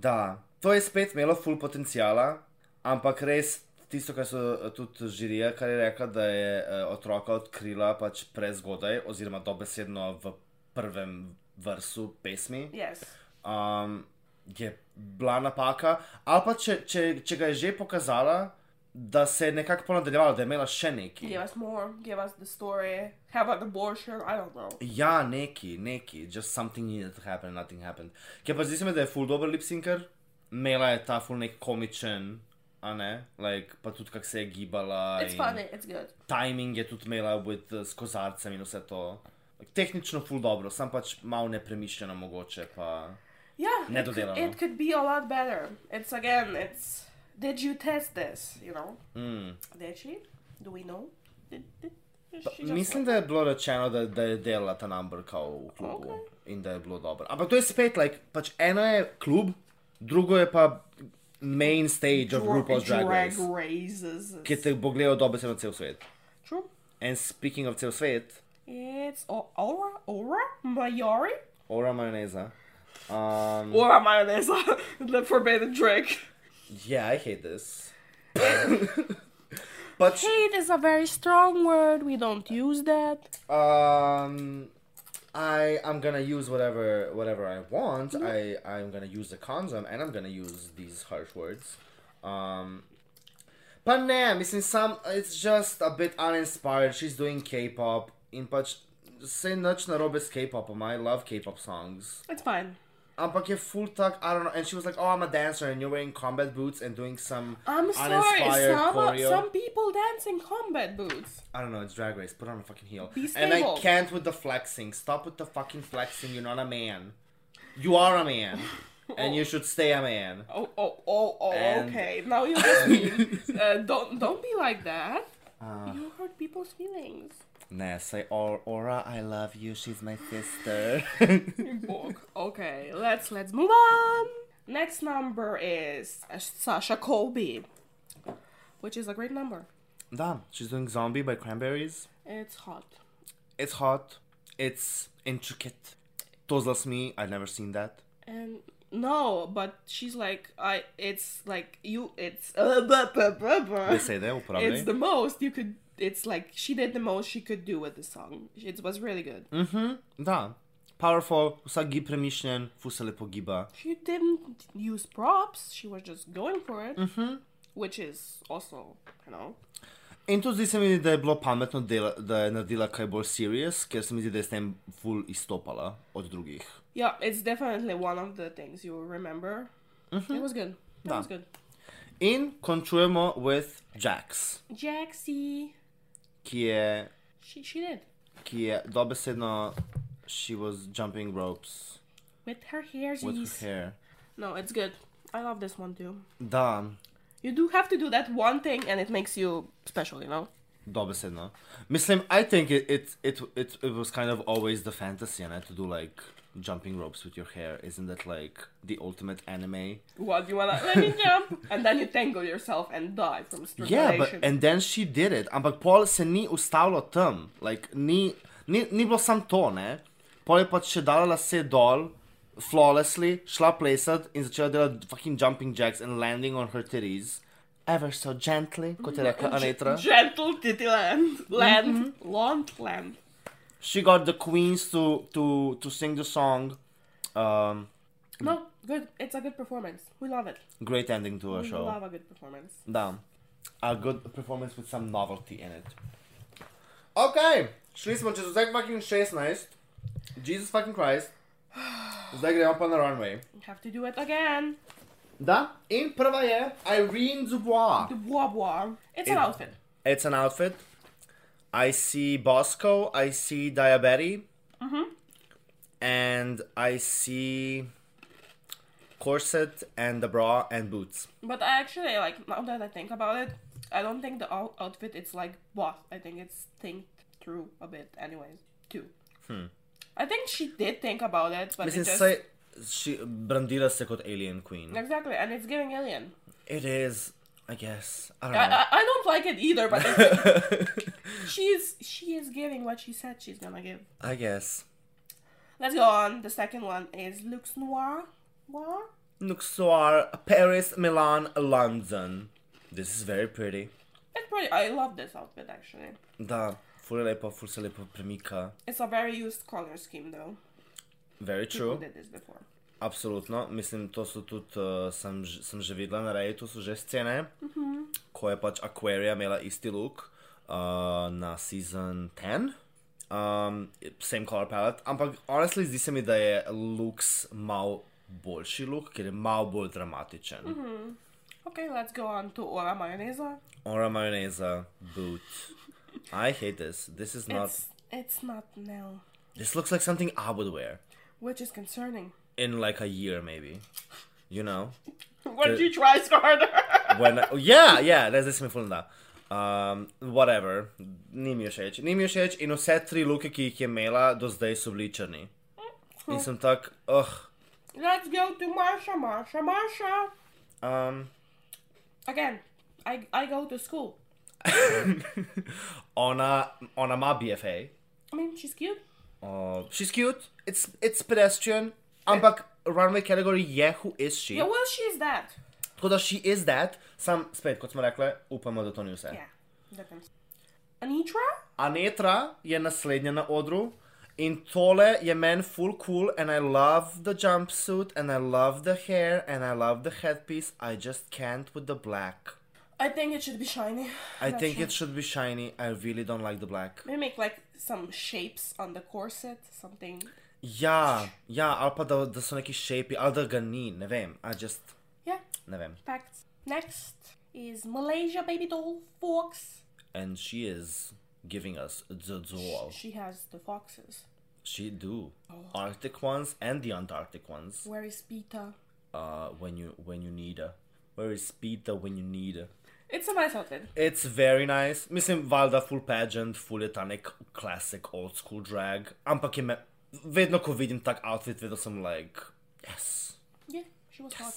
Speaker 2: Da, to je spet imelo full potencijala, ampak res tisto, kar so eh, tudi žirija, kar je rekla, da je eh, otroka odkrila pač prezgodaj, oziroma dobesedno v prvem vrsu pesmi.
Speaker 1: Yes.
Speaker 2: um, je bila napaka, ali pa če, če, če ga je že pokazala, da se je nekako ponadaljevala, da je imela še neki.
Speaker 1: Give us more. Give us the story. Have an abortion. I don't know.
Speaker 2: Ja, neki, neki, just something needed to happen, nothing happened. Ker pa zdi se mi, da je full dober lipsinker, imela je ta full nek komičen, a ne, like, pa tudi kak se je gibala.
Speaker 1: It's
Speaker 2: in
Speaker 1: funny. It's good.
Speaker 2: Timing je tudi imela with, uh, s kozarcem in vse to. Tehnično full dobro, sam pač malo nepremišljeno mogoče pa.
Speaker 1: Yeah. It could,
Speaker 2: Nedodelano.
Speaker 1: it could be a lot better. It's again. It's. Did you test this? You know.
Speaker 2: Mm.
Speaker 1: Did she? Do we know? Did, did, she just
Speaker 2: Mislim, da je bilo rečeno, da, da je delala ta number kao v klubu okay.
Speaker 1: Okej.
Speaker 2: in da je bilo dobro. Ampak to je spet, like, pač eno je klub, drugo je pa main stage of
Speaker 1: Dra-
Speaker 2: RuPaul's Drag Race,
Speaker 1: raises.
Speaker 2: ki te bo gledal dobesedno cel svet.
Speaker 1: True.
Speaker 2: And speaking of cel svet,
Speaker 1: It's o- Aura, Aura, Mayori,
Speaker 2: ora majoneza. Um,
Speaker 1: Aura Mayonnaise, the forbidden drink.
Speaker 2: yeah, I hate this. pač,
Speaker 1: Hate is a very strong word. We don't use that.
Speaker 2: um, I, I'm gonna use whatever, whatever I want. I, I'm gonna use the condom and I'm gonna use these harsh words. Um, pa ne, mislim, sam, it's just a bit uninspired. She's doing um, K-pop in pač, sej nič narobe s K-popom, I love K-pop songs.
Speaker 1: It's fine.
Speaker 2: ampak je Um, full tak, I don't know. And she was like, oh, I'm a dancer, and you're wearing combat boots and doing some
Speaker 1: I'm sorry,
Speaker 2: uninspired
Speaker 1: some,
Speaker 2: choreo.
Speaker 1: some people dance in combat boots.
Speaker 2: I don't know, it's drag race. Put on a fucking heel.
Speaker 1: Be
Speaker 2: and I
Speaker 1: stable.
Speaker 2: can't with the flexing. Stop with the fucking flexing. You're not a man. You are a man. And you should stay a man.
Speaker 1: Oh, oh, oh, oh,
Speaker 2: And-
Speaker 1: okay. Now you just mean. uh, don't, don't be like that.
Speaker 2: Uh.
Speaker 1: you hurt people's feelings.
Speaker 2: Nah, say or Aura, I love you. She's my sister.
Speaker 1: Bog. Okay, let's let's move on. Next number is Sasha Colby, which is a great number.
Speaker 2: Damn, she's doing Zombie by Cranberries.
Speaker 1: It's hot.
Speaker 2: It's hot. It's intricate. Tozlas me. I've never seen that.
Speaker 1: And no, but she's like I. It's like you. It's uh, blah, blah, blah, blah.
Speaker 2: They say that probably.
Speaker 1: It's the most you could. It's like she did the most she could do with the song. It was really good.
Speaker 2: Mm. Da. Powerful, vsak gib premišljen, fu se lepo giba.
Speaker 1: She didn't use props. She was just going for it, mm-hmm. which is also you know
Speaker 2: In tudi zdi se mi, da je bilo pametno, dela, da je naredila kaj bolj serious, ker se mi zdi, da je s tem full izstopala od drugih.
Speaker 1: Yeah, it's definitely one of the things you will remember.
Speaker 2: Mm-hmm.
Speaker 1: It was good. It
Speaker 2: Da.
Speaker 1: was good.
Speaker 2: In končujemo with Jax,
Speaker 1: Jaxie,
Speaker 2: ki je,
Speaker 1: she she did
Speaker 2: ki je dobesedno, she was jumping ropes
Speaker 1: with her hairs.
Speaker 2: with her hair.
Speaker 1: No, it's good. I love this one too.
Speaker 2: Da,
Speaker 1: You do have to do that one thing, and it makes you special. You know.
Speaker 2: dobesedno. Mislim, I think it, it, it, it, it was kind of always the fantasy, ne, to do like jumping ropes with your hair. Isn't that like the ultimate anime?
Speaker 1: What you wanna? Let me jump, and then you tangle yourself and die from
Speaker 2: Yeah,
Speaker 1: strangulation.
Speaker 2: but and then she did it. Ampak pol se ni ustavilo tam, like ni, ni, ni bilo samo to, ne. Pol je pač še dala lase dol, flawlessly, šla plesat in začela delati fucking jumping jacks and landing on her titties. Ever so gently, kot je rekla Anetra.
Speaker 1: Gentle titty land,
Speaker 2: Mm-hmm.
Speaker 1: land, land, land.
Speaker 2: She got the queens to to to sing the song. Um,
Speaker 1: No, good. It's a good performance. We love it.
Speaker 2: great ending to her
Speaker 1: We
Speaker 2: show.
Speaker 1: love a good performance.
Speaker 2: Da. A good performance with some novelty in it. Ok, šli smo čez vseh fucking 16. Jesus fucking Christ. Zdaj gremo pa na runway.
Speaker 1: You have to do it again.
Speaker 2: Da, in prva je Irene Dubois.
Speaker 1: The bois bois. It's
Speaker 2: It-
Speaker 1: an outfit.
Speaker 2: It's an outfit. I see Bosco, I see Diabeti. And I see corset and the bra and boots.
Speaker 1: But I actually like now that I think about it, I don't think the out- outfit is like boss. I think it's think through a bit, anyways. Too. I think she did think about it, but
Speaker 2: Mislim,
Speaker 1: it just,
Speaker 2: saj she brandira se kot alien queen.
Speaker 1: exactly, and it's giving alien.
Speaker 2: It is, I guess. I don't
Speaker 1: I,
Speaker 2: know.
Speaker 1: I I don't like it either, but it's, she is she is giving what she said she's gonna give.
Speaker 2: I guess.
Speaker 1: Let's go on. The second one is Lux Noir. Noir.
Speaker 2: Luxor, Paris, Milan, London. This is very pretty.
Speaker 1: It's pretty. I love this outfit actually.
Speaker 2: Da, ful je lepo, ful se lepo premika.
Speaker 1: It's a very used color scheme though.
Speaker 2: Very
Speaker 1: People
Speaker 2: true.
Speaker 1: did this before.
Speaker 2: Absolutno. Mislim, to so tudi, uh, sem, ž- sem že videla na reju, to so že scene, ko je pač Aquaria imela isti look uh, na season 10. Um, same color palette, ampak honestly zdi se mi, da je Lux mal boljši look, ker je mal bolj dramatičen. Mm -hmm.
Speaker 1: Okay, let's go on to Ora Mayonesa.
Speaker 2: Ora mayonnaise, boot. I hate this. This is not.
Speaker 1: It's it's not now,
Speaker 2: This looks like something I would wear
Speaker 1: which is concerning.
Speaker 2: in like a year, maybe. You know?
Speaker 1: When
Speaker 2: she
Speaker 1: she tries harder.
Speaker 2: when oh, yeah, yeah, res zdaj sem fulna. Um, whatever, ni mi všeč. Ni mi všeč in vse tri luke, ki jih je imela, do zdaj so bili črni. In sem tak, uh,
Speaker 1: Let's go to Marsha, Marsha, Marsha.
Speaker 2: um,
Speaker 1: Again, I I go to school.
Speaker 2: ona, ona ima BFA.
Speaker 1: I mean, she's cute.
Speaker 2: Uh, she's cute, it's, it's pedestrian, ampak runway category je who is she.
Speaker 1: Yeah, well, she's that.
Speaker 2: Tako da she is that, sam spet, kot smo rekli, upamo, da to ni vse.
Speaker 1: Yeah, that comes. Anitra?
Speaker 2: Anetra je naslednja na odru in tole je meni full cool and I love the jumpsuit and I love the hair and I love the headpiece. I just can't with the black.
Speaker 1: I think it should be shiny.
Speaker 2: I think it should be shiny. I really don't like the black.
Speaker 1: Maybe make like some shapes on the corset, something.
Speaker 2: Ja, ja, ali pa da, da so neki šepi, ali da ga ni, ne vem, I just,
Speaker 1: Yeah,
Speaker 2: ne vem.
Speaker 1: facts. Next is Malaysia baby doll fox.
Speaker 2: And she is giving us the doll.
Speaker 1: She has the foxes.
Speaker 2: She do. Arctic ones and the Antarctic ones.
Speaker 1: Where is Peter?
Speaker 2: Uh, when you when you need her. Where is Peter when you need her?
Speaker 1: It's a nice outfit.
Speaker 2: It's very nice. Mislim, valjda full pageant, full je ta nek classic old school drag. Ampak je me, vedno ko vidim tak outfit, vedno sem like, yes.
Speaker 1: Yeah, she was hot.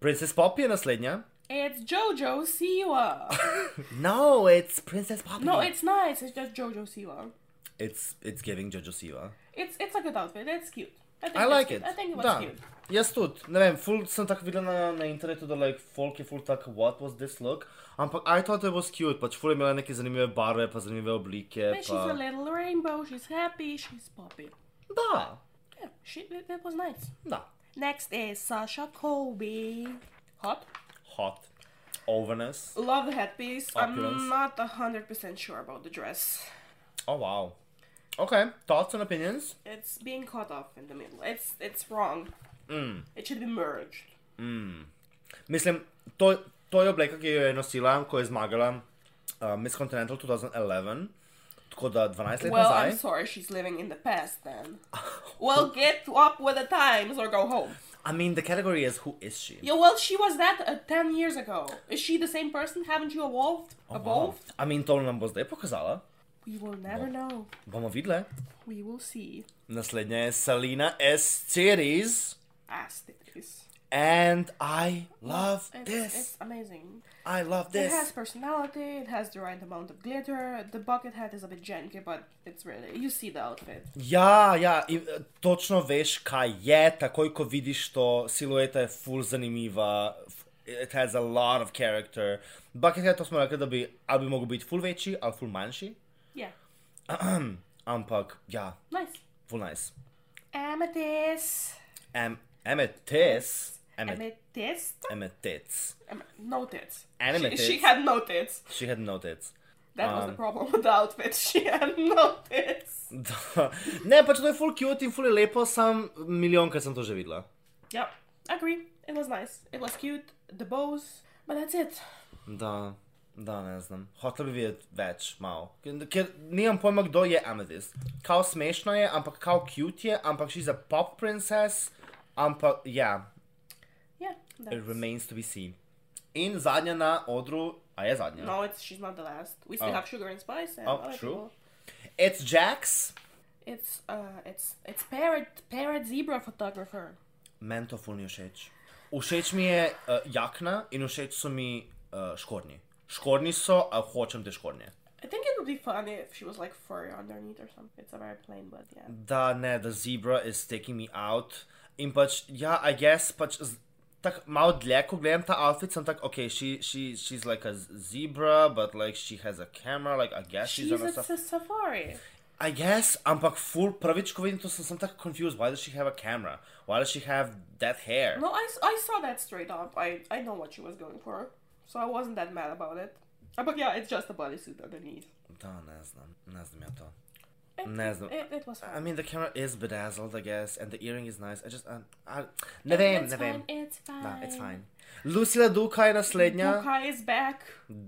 Speaker 2: Princess Poppy je naslednja.
Speaker 1: It's Jojo Siwa.
Speaker 2: No, it's Princess Poppy.
Speaker 1: no, it's nice. It's just Jojo Siwa.
Speaker 2: It's, it's giving Jojo Siva.
Speaker 1: It's it's a good outfit. It's cute. I, think
Speaker 2: I
Speaker 1: it's
Speaker 2: like
Speaker 1: cute.
Speaker 2: it.
Speaker 1: I think it was
Speaker 2: da.
Speaker 1: cute.
Speaker 2: Jaz tudi, ne vem, ful sem tako videla na, na internetu, da like, folk je ful tak, what was this look? Ampak I thought it was cute, pač ful je imela neke zanimive barve, pa zanimive oblike.
Speaker 1: And she's a
Speaker 2: Pa...
Speaker 1: little rainbow. She's happy. She's poppy.
Speaker 2: Da,
Speaker 1: Yeah, she that that was nice.
Speaker 2: da.
Speaker 1: Next is Sasha Colby. Hot.
Speaker 2: Hot. Overness.
Speaker 1: Love the headpiece.
Speaker 2: Opulence.
Speaker 1: I'm not hundred percent sure about the dress.
Speaker 2: Oh wow. Okay, thoughts and opinions?
Speaker 1: It's being cut off in the middle. It's it's wrong. It should be merged.
Speaker 2: Mislim, to, to je obleka, ki jo je nosila, ko je zmagala uh, Miss Continental 2011, tako da 12 let
Speaker 1: Well,
Speaker 2: nazaj.
Speaker 1: I'm sorry, she's living in the past then. well, get up with the times or go home.
Speaker 2: I mean, the category is who is she?
Speaker 1: Yeah, well, she was that uh, 10 years ago. Is she the same person? Haven't you evolved?
Speaker 2: Oh,
Speaker 1: Evolved?
Speaker 2: I mean, to nam bo zdaj pokazala.
Speaker 1: We will never know.
Speaker 2: Bomo videli.
Speaker 1: We will see.
Speaker 2: Naslednja je Salina S. Series.
Speaker 1: As this.
Speaker 2: And I love
Speaker 1: It's,
Speaker 2: this.
Speaker 1: it's amazing.
Speaker 2: I love
Speaker 1: It has
Speaker 2: this.
Speaker 1: personality, it has the right amount of glitter. The bucket hat is a bit janky, but it's really. You see the outfit.
Speaker 2: Ja, ja, in, eh, točno veš, kaj je. Takoj, ko vidiš to, silueta je full zanimiva. f- It has a lot of character. Buckethead, to smo rekli, da bi ali bi mogel biti full večji ali full manjši.
Speaker 1: Yeah,
Speaker 2: Ampak, ja,
Speaker 1: nice.
Speaker 2: full nice.
Speaker 1: Amethyst.
Speaker 2: Am, amethyst. Amet,
Speaker 1: Amethyst?
Speaker 2: amethyst.
Speaker 1: Am- no tits. She,
Speaker 2: Amethyst.
Speaker 1: she had no tits.
Speaker 2: She had no tits.
Speaker 1: That was the problem with the outfit. She had no tits.
Speaker 2: Da. Ne, pač to je full cute in full je lepo, sam milijonkrat sem to že videla.
Speaker 1: Yep, agree. It was nice. It was cute. The bows, but that's it.
Speaker 2: Da, da, ne znam. Hotel bi videti več, malo. Ker, ker nimam pojma, kdo je Amethyst. Kao smešno je, ampak kao cute je, ampak she's a pop princess, ampak ja,
Speaker 1: Yeah.
Speaker 2: yeah,
Speaker 1: That's...
Speaker 2: it remains to be seen. In zadnja na odru, a je zadnja.
Speaker 1: No, it's she's not the last. We still
Speaker 2: Oh.
Speaker 1: have sugar and spice and
Speaker 2: Oh,
Speaker 1: other
Speaker 2: true.
Speaker 1: people.
Speaker 2: It's Jax,
Speaker 1: It's uh, it's it's parrot parrot zebra photographer.
Speaker 2: meni to ful ni všeč. Všeč mi je uh, jakna in všeč so mi uh, škornji. Škornji so, a hočem te škornje.
Speaker 1: I think it would be funny if she was like furry underneath or something. It's a very plain, but yeah.
Speaker 2: da ne, da zebra is taking me out. In pač, ja, I guess, pač z- tako malo dlje, ko gledam ta outfit, sem tako, ok, she, she, she's like a z- zebra, but like she has a camera, like I guess she's, on
Speaker 1: She's
Speaker 2: a
Speaker 1: at
Speaker 2: stuff.
Speaker 1: a safari.
Speaker 2: I guess, ampak full, prvič, ko vidim to, sem, sem tako confused, why does she have a camera? Why does she have that hair?
Speaker 1: No, I, s- I saw that straight up. I I know what she was going for, so I wasn't that mad about it. Uh, But yeah, it's just a bodysuit underneath.
Speaker 2: Da, ne znam, ne znam ja to.
Speaker 1: It,
Speaker 2: Ne znam.
Speaker 1: it, it was
Speaker 2: I
Speaker 1: fun.
Speaker 2: mean, the camera is bedazzled, I guess, and the earring is nice. I just, I, I, ne vem,
Speaker 1: it's
Speaker 2: ne vem.
Speaker 1: Eh, fine. It's fine.
Speaker 2: Da, it's fine. Lucila Duka je naslednja.
Speaker 1: Tukaj is back.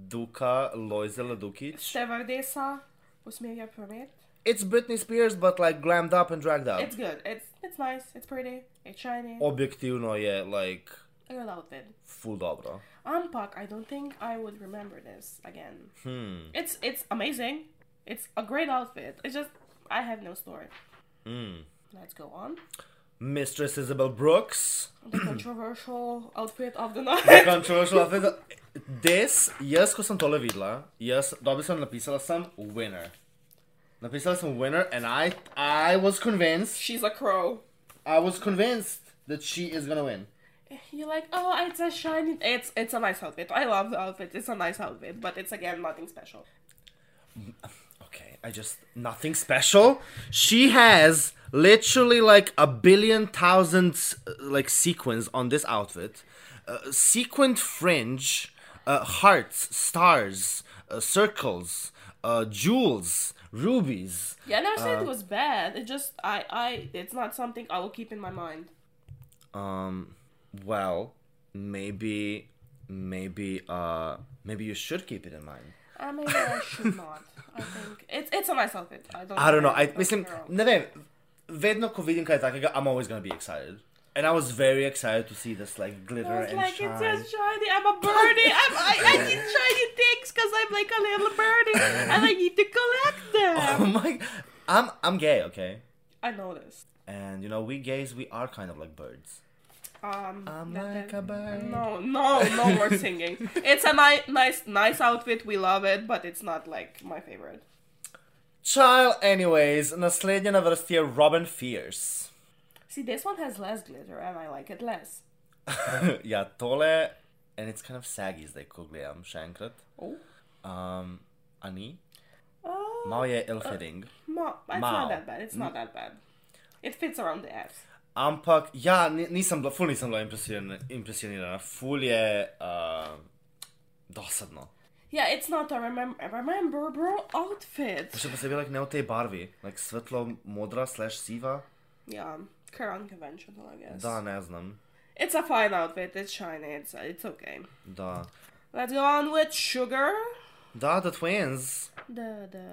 Speaker 2: Duka, Lojze Ladukic.
Speaker 1: Stevardesa usmerja promet.
Speaker 2: It's Britney Spears, but like glammed up and dragged up.
Speaker 1: It's good. It's it's nice. It's pretty. It's shiny.
Speaker 2: Objektivno je like
Speaker 1: A good outfit.
Speaker 2: full dobro.
Speaker 1: Unpack. I don't think I would remember this again. Hmm. It's it's amazing. It's a great outfit. It's just I have no story.
Speaker 2: Hmm.
Speaker 1: Let's go on.
Speaker 2: Mistress Isabel Brooks.
Speaker 1: The controversial outfit of the night.
Speaker 2: Controversial outfit. This, jaz ko sem tole videla, jaz dobro sem napisala sem winner. Napisala sem winner and I, I was convinced,
Speaker 1: She's a crow.
Speaker 2: I was convinced that she is gonna win.
Speaker 1: You're like, oh, it's a shiny. It's it's a nice outfit. I love the outfit. It's a nice outfit, but it's again nothing special.
Speaker 2: Okay, I just nothing special. She has literally like a billion thousand uh, like sequins on this outfit, uh, sequined fringe, uh, hearts, stars, uh, circles, uh, jewels, rubies.
Speaker 1: Yeah, I never said it
Speaker 2: Uh,
Speaker 1: was bad. It just I I it's not something I will keep in my mind.
Speaker 2: Um, well, maybe, maybe, uh, maybe you should keep it in mind.
Speaker 1: I mean, I should not. I think it's it's a nice outfit. I don't.
Speaker 2: I don't know. I
Speaker 1: think
Speaker 2: mislim,
Speaker 1: it's wrong.
Speaker 2: ne vem. Vedno, ko vidim kaj takega, I'm always gonna be excited. And I was very excited to see this like glitter
Speaker 1: I was
Speaker 2: and
Speaker 1: like,
Speaker 2: shine.
Speaker 1: it's just shiny. I'm a birdie. I'm, I, I need shiny things because I'm like a little birdie and I need to collect
Speaker 2: Oh
Speaker 1: them.
Speaker 2: my! I'm I'm gay, okay.
Speaker 1: I noticed.
Speaker 2: And you know, we gays, we are kind of like birds.
Speaker 1: Um,
Speaker 2: I'm
Speaker 1: that-
Speaker 2: like a
Speaker 1: that-
Speaker 2: bird.
Speaker 1: No, no, no more singing. It's a ni- nice, nice outfit. We love it, but it's not like my favorite.
Speaker 2: Child, anyways, naslednja na vrsti je Robin Fierce.
Speaker 1: See, this one has less glitter, and I like it less.
Speaker 2: ja, tole, and it's kind of saggy zdaj, ko gledam še enkrat.
Speaker 1: Oh,
Speaker 2: Um, a ni?
Speaker 1: oh,
Speaker 2: Malo je ill-fitting.
Speaker 1: ma-
Speaker 2: Mao.
Speaker 1: it's
Speaker 2: Mm.
Speaker 1: not that bad. It's not that bad. It fits around the abs.
Speaker 2: Ampak, ja, ni- nisem bila, ful nisem bila impresionirana, impresionirana. ful je uh, dosadno.
Speaker 1: Yeah, it's not a remem- a rememberable outfit.
Speaker 2: Še posebej like, ne v tej barvi, like, svetlo modra, slash siva,
Speaker 1: Yeah, kind of unconventional, I guess.
Speaker 2: da ne znam.
Speaker 1: It's a fine outfit. It's shiny. It's it's okay.
Speaker 2: Da,
Speaker 1: Let's go on with sugar.
Speaker 2: da, the twins.
Speaker 1: The the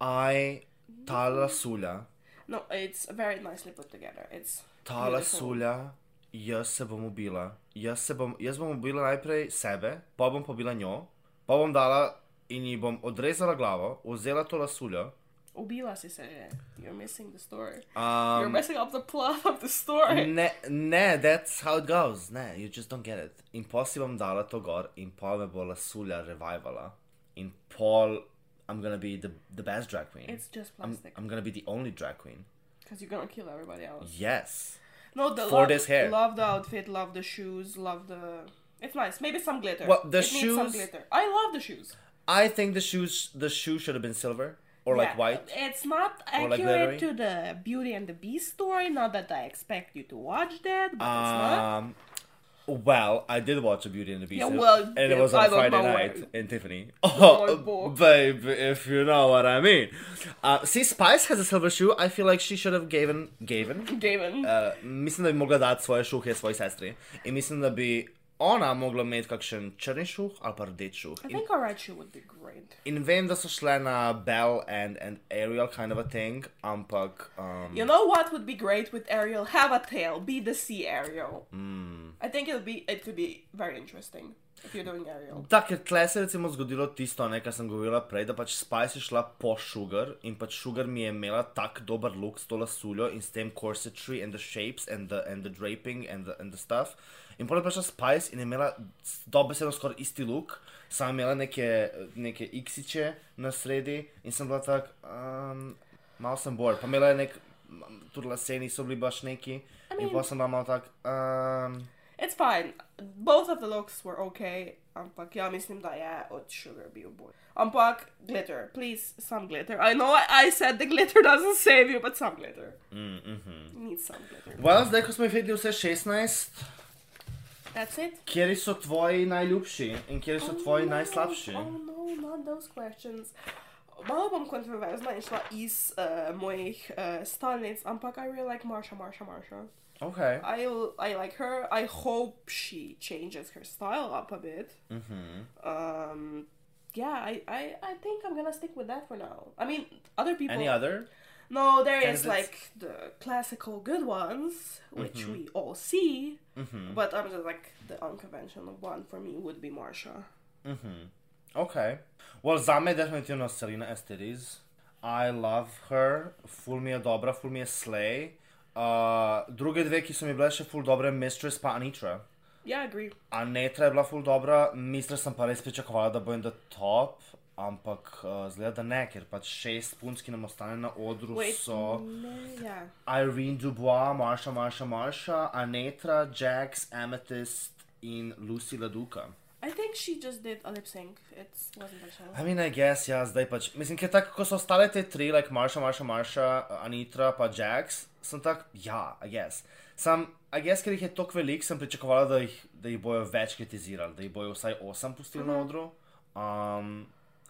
Speaker 2: I, ta lasulja,
Speaker 1: no, it's very nicely put together. It's
Speaker 2: ta lasulja, jaz se bom ubila. Jaz, se bom, jaz bom ubila najprej sebe, pa bom pobila njo, pa bom dala in ji bom odrezala glavo, vzela to lasuljo.
Speaker 1: Ubila si se že. You're missing the story. You're
Speaker 2: Um,
Speaker 1: messing up the plot of the story.
Speaker 2: Ne, ne, that's how it goes. Ne, you just don't get it. In pol si bom dala to gor in pol me bo lasulja revivala. ah. In pol I'm gonna be the, the best drag queen.
Speaker 1: It's just
Speaker 2: I'm,
Speaker 1: plastic.
Speaker 2: I'm gonna be the only drag queen.
Speaker 1: Because you're gonna kill everybody else.
Speaker 2: Yes.
Speaker 1: No, the
Speaker 2: For
Speaker 1: love,
Speaker 2: this hair.
Speaker 1: Love the outfit. Love the shoes. Love the. It's nice. Maybe some glitter.
Speaker 2: Well, the
Speaker 1: It needs some
Speaker 2: shoes-
Speaker 1: glitter. I love the shoes.
Speaker 2: I think the shoes the shoe should have been silver or like
Speaker 1: Yeah,
Speaker 2: white.
Speaker 1: It's not
Speaker 2: like glittery.
Speaker 1: accurate to the Beauty and the Beast story. Not that I expect you to watch that, but it's not.
Speaker 2: Um, well, I did watch a Beauty and the Beast,
Speaker 1: Yeah,
Speaker 2: and-
Speaker 1: well,
Speaker 2: and it was
Speaker 1: I
Speaker 2: on
Speaker 1: don't
Speaker 2: Friday
Speaker 1: know
Speaker 2: night
Speaker 1: where-
Speaker 2: in Tiffany. Oh,
Speaker 1: book.
Speaker 2: babe, if you know what I mean. Uh, see, Spice has a silver shoe. I feel like she should have given, given.
Speaker 1: Gavin.
Speaker 2: Uh, mislim, da bi mogla dati svoje šuhe svoji sestri in mislim, da bi ona mogla imeti kakšen črni šuh ali pa rdeč šuh.
Speaker 1: I
Speaker 2: In,
Speaker 1: think a red shoe would be great.
Speaker 2: in vem, da so šle na Bell and, and Ariel kind of a thing, ampak um,
Speaker 1: You know what would be great with Ariel? Have a tail. Be the sea Ariel.
Speaker 2: Hmm.
Speaker 1: I think it'll be it could be very interesting if you're doing Ariel.
Speaker 2: Da, ker tle se je recimo zgodilo tisto, ne, kar sem govorila prej, da pač Spice je šla po Sugar in pač Sugar mi je imela tak dober look s to lasuljo in s tem corsetry and the shapes and the, and the draping and the, and the stuff. In potem je prišla Spice in je imela s- dobesedno skoraj isti look, sama je imela neke, neke iksiče na sredi in sem bila tak, um, malo sem bolj, pa imela je nek, m- tudi laseni so bili baš neki in pa sem bila malo tak, um,
Speaker 1: It's fine. Both of the looks were okay. Um, Ampak ja mislim da je od oh, Sugar bio boy. Ampak glitter, please some glitter. I know I, I said the glitter doesn't save you, but some glitter. Mm-hmm. Need some glitter.
Speaker 2: well, zdaj ko smo jih videli vse 16,
Speaker 1: That's it.
Speaker 2: Kjeri so tvoji najljubši in kjeri so tvoji
Speaker 1: no,
Speaker 2: najslabši?
Speaker 1: Oh no, not those questions. Malo bom kontroverzna in šla iz uh, mojih uh, stalnic, ampak I really like Marsha, Marsha, Marsha.
Speaker 2: Okay.
Speaker 1: I, I like her. I hope she changes her style up a bit.
Speaker 2: Mhm.
Speaker 1: Um, yeah, I, I, I think I'm gonna stick with that for now. I mean, other people.
Speaker 2: Any other?
Speaker 1: No, there is
Speaker 2: Candidates?
Speaker 1: like the classical good ones, which
Speaker 2: Mm-hmm.
Speaker 1: we all see, but I'm just like the unconventional one for me would be Marsha.
Speaker 2: Okay. Well, za me je definitivno Selena Esteriz. I love her, ful mi je dobra, ful mi je slay. Uh, druge dve, ki so mi bile še ful dobre, Mistress pa Anitra.
Speaker 1: Yeah, I agree.
Speaker 2: Anitra je bila ful dobra, Mistress sem pa res pričakovala, da bo in the top, ampak uh, zgleda, da ne, ker pač šest punc, ki nam ostane na odru,
Speaker 1: Wait,
Speaker 2: so...
Speaker 1: no, yeah.
Speaker 2: Irene Dubois, Marsha, Marsha, Marsha, Anetra, Jax, Amethyst in Lucy Laduka.
Speaker 1: I think she just did a lip sync. It wasn't a show.
Speaker 2: I mean, I guess, ja, zdaj pač. Mislim, ker tako ko so ostale te tri, like Marsha, Marsha, Marsha, Anitra, pa Jax, sem tak, ja, I guess. Sam, I guess, ker jih je toliko velik, sem pričakovala, da jih, da jih bojo več kritizirali, da jih bojo vsaj osem pustili
Speaker 1: Mhm.
Speaker 2: na odru. Um,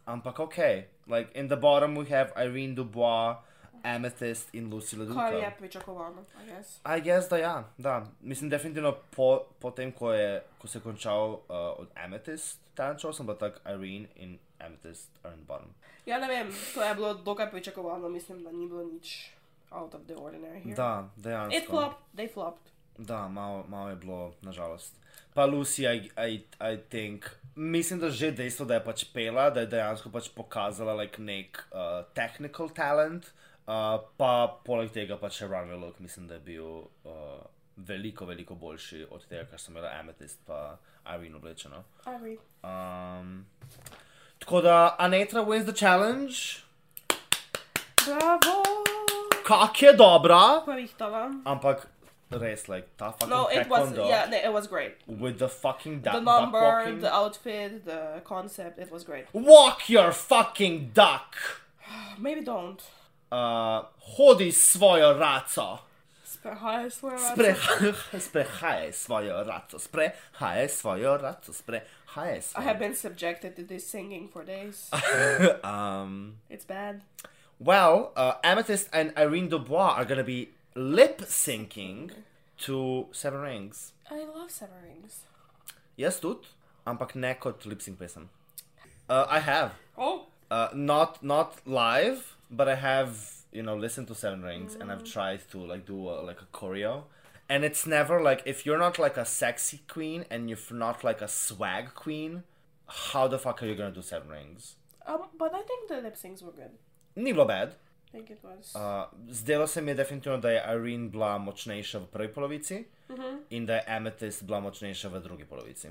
Speaker 2: ampak ok, like in the bottom we have Irene Dubois, Amethyst in Lucy LaDuca.
Speaker 1: Kar je pričakovano, I guess.
Speaker 2: I guess, da ja, da. Mislim, definitivno po, po tem, ko, je, ko se je končal uh, od Amethyst, ta čas sem pa tak Irene in Amethyst are in the bottom.
Speaker 1: Ja, ne vem, to je bilo dokaj pričakovano, mislim, da ni bilo nič out of the ordinary here.
Speaker 2: Da,
Speaker 1: It
Speaker 2: dejansko.
Speaker 1: flopped, they flopped.
Speaker 2: Da, malo, malo je bilo, nažalost. Pa Lucy, I, I, I think, mislim, da že dejstvo, da je pač pela, da je dejansko pač pokazala like, nek uh, technical talent, uh, pa poleg tega pač še runway look, mislim, da je bil uh, veliko, veliko boljši od tega, kar sem imela Amethyst pa Irene oblečeno.
Speaker 1: I agree.
Speaker 2: Um, tako da Anetra wins the challenge,
Speaker 1: Bravo!
Speaker 2: kak je dobra,
Speaker 1: Pravihtala.
Speaker 2: ampak res, like, ta fucking
Speaker 1: No, it was,
Speaker 2: taekwondo
Speaker 1: yeah, it was great.
Speaker 2: with the fucking duck,
Speaker 1: The
Speaker 2: duck
Speaker 1: number,
Speaker 2: walking.
Speaker 1: the outfit, the concept, it was great.
Speaker 2: Walk your fucking duck!
Speaker 1: Maybe don't.
Speaker 2: Uh, hodi svojo raco!
Speaker 1: Sprehaj svoje race.
Speaker 2: Spreha- Sprehajaj svojo raco, sprehajaj svojo raco, sprehajaj
Speaker 1: I
Speaker 2: svojo
Speaker 1: have been subjected to this singing for days.
Speaker 2: Um,
Speaker 1: It's bad.
Speaker 2: well, uh, Amethyst and Irene Dubois are gonna be lip syncing to Seven Rings.
Speaker 1: I love Seven Rings.
Speaker 2: Jaz tudi, ampak ne kot lip sync pesem. Uh, I have.
Speaker 1: Oh,
Speaker 2: Uh, not not live, but I have you know listened to Seven Rings and I've tried to like do a, like a choreo, and it's never like if you're not like a sexy queen and if you're not like a swag queen, how the fuck are you gonna do Seven Rings?
Speaker 1: um, but I think the lip syncs were good.
Speaker 2: Ni bilo bad.
Speaker 1: I think it was.
Speaker 2: Uh, zdelo se mi je definitivno, da je Irene bila močnejša v prvi polovici in da je Amethyst bila močnejša v drugi polovici.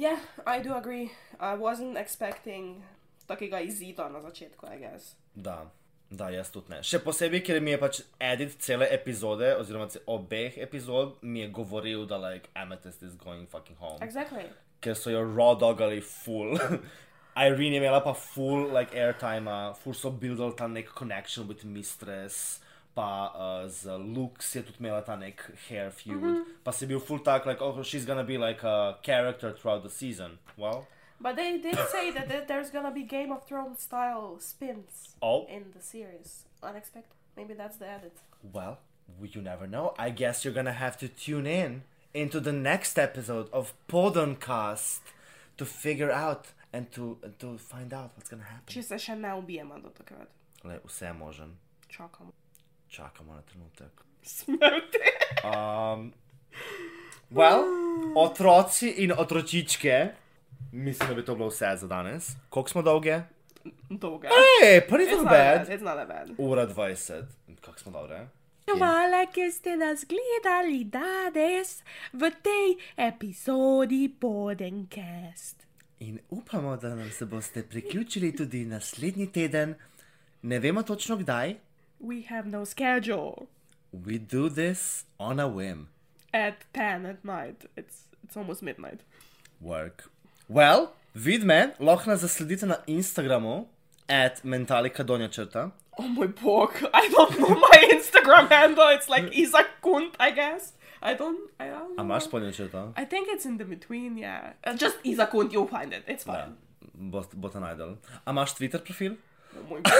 Speaker 1: yeah, I do agree. I wasn't expecting takega izida na začetku, I guess.
Speaker 2: Da, da, jaz tudi ne. Še posebej, ker mi je pač edit cele epizode, oziroma ce- obeh epizod, mi je govoril, da like Amethyst is going fucking home.
Speaker 1: Exactly.
Speaker 2: Ker so jo raw dogali full. Irene je imela pa full like airtime, full so buildali ta nek connection with mistress. Pa uh, z Lux je tudi imela ta nek hair feud, mm -hmm. pa si bil full tak, like, oh, she's gonna be like a character throughout the season. Well,
Speaker 1: But they did say that th- there's gonna be Game of Thrones style spins
Speaker 2: oh.
Speaker 1: in the series. Unexpected. Maybe that's the edit.
Speaker 2: Well, you never know. I guess you're gonna have to tune in into the next episode of Podoncast to figure out and to and to find out what's gonna happen.
Speaker 1: Če se še ne ubijemo do takrat.
Speaker 2: Le, vse je možen.
Speaker 1: Čakamo.
Speaker 2: Čakamo na trenutek.
Speaker 1: Smrti.
Speaker 2: Um, well, otroci in otročičke, mislim, da bi to bilo vse za danes. Koliko smo dolge?
Speaker 1: Dolga.
Speaker 2: Hej, pa ni
Speaker 3: Ah,
Speaker 1: It's
Speaker 2: tako
Speaker 1: not, that bad.
Speaker 2: bad.
Speaker 1: it's not that bad.
Speaker 2: Ura 20. Kako smo dobre?
Speaker 3: Hvala, ker ste nas gledali danes v tej epizodi Podencast.
Speaker 2: In upamo, da nam se boste priključili tudi naslednji teden. Ne vemo točno kdaj.
Speaker 3: We have no schedule
Speaker 2: We do this on a whim.
Speaker 3: at 10 at night. It's, it's almost midnight.
Speaker 2: Work. Well, vid me, lahko nas zasledite na Instagramu, at mentalika donja črta.
Speaker 1: Oh my bog. I don't know my Instagram handle. It's like Isaac Kunt, I guess. I don't. I don't know.
Speaker 2: A imaš ponja črta?
Speaker 1: I think it's in the between, yeah. Uh, just Isaac Kunt, you'll find it. It's fine.
Speaker 2: Bo, bo te najdel. A imaš Twitter profil?
Speaker 1: Oh my God.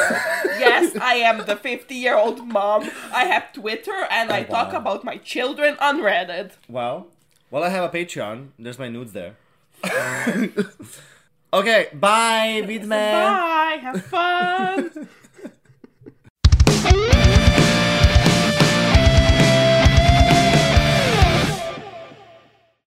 Speaker 1: yes, I am the 50 year old mom. I have Twitter and I
Speaker 2: Oh,
Speaker 1: talk
Speaker 2: wow.
Speaker 1: about my children on Reddit.
Speaker 2: Well, well, I have a Patreon. There's my nudes there. okay, bye, vid me.
Speaker 1: Bye, have fun.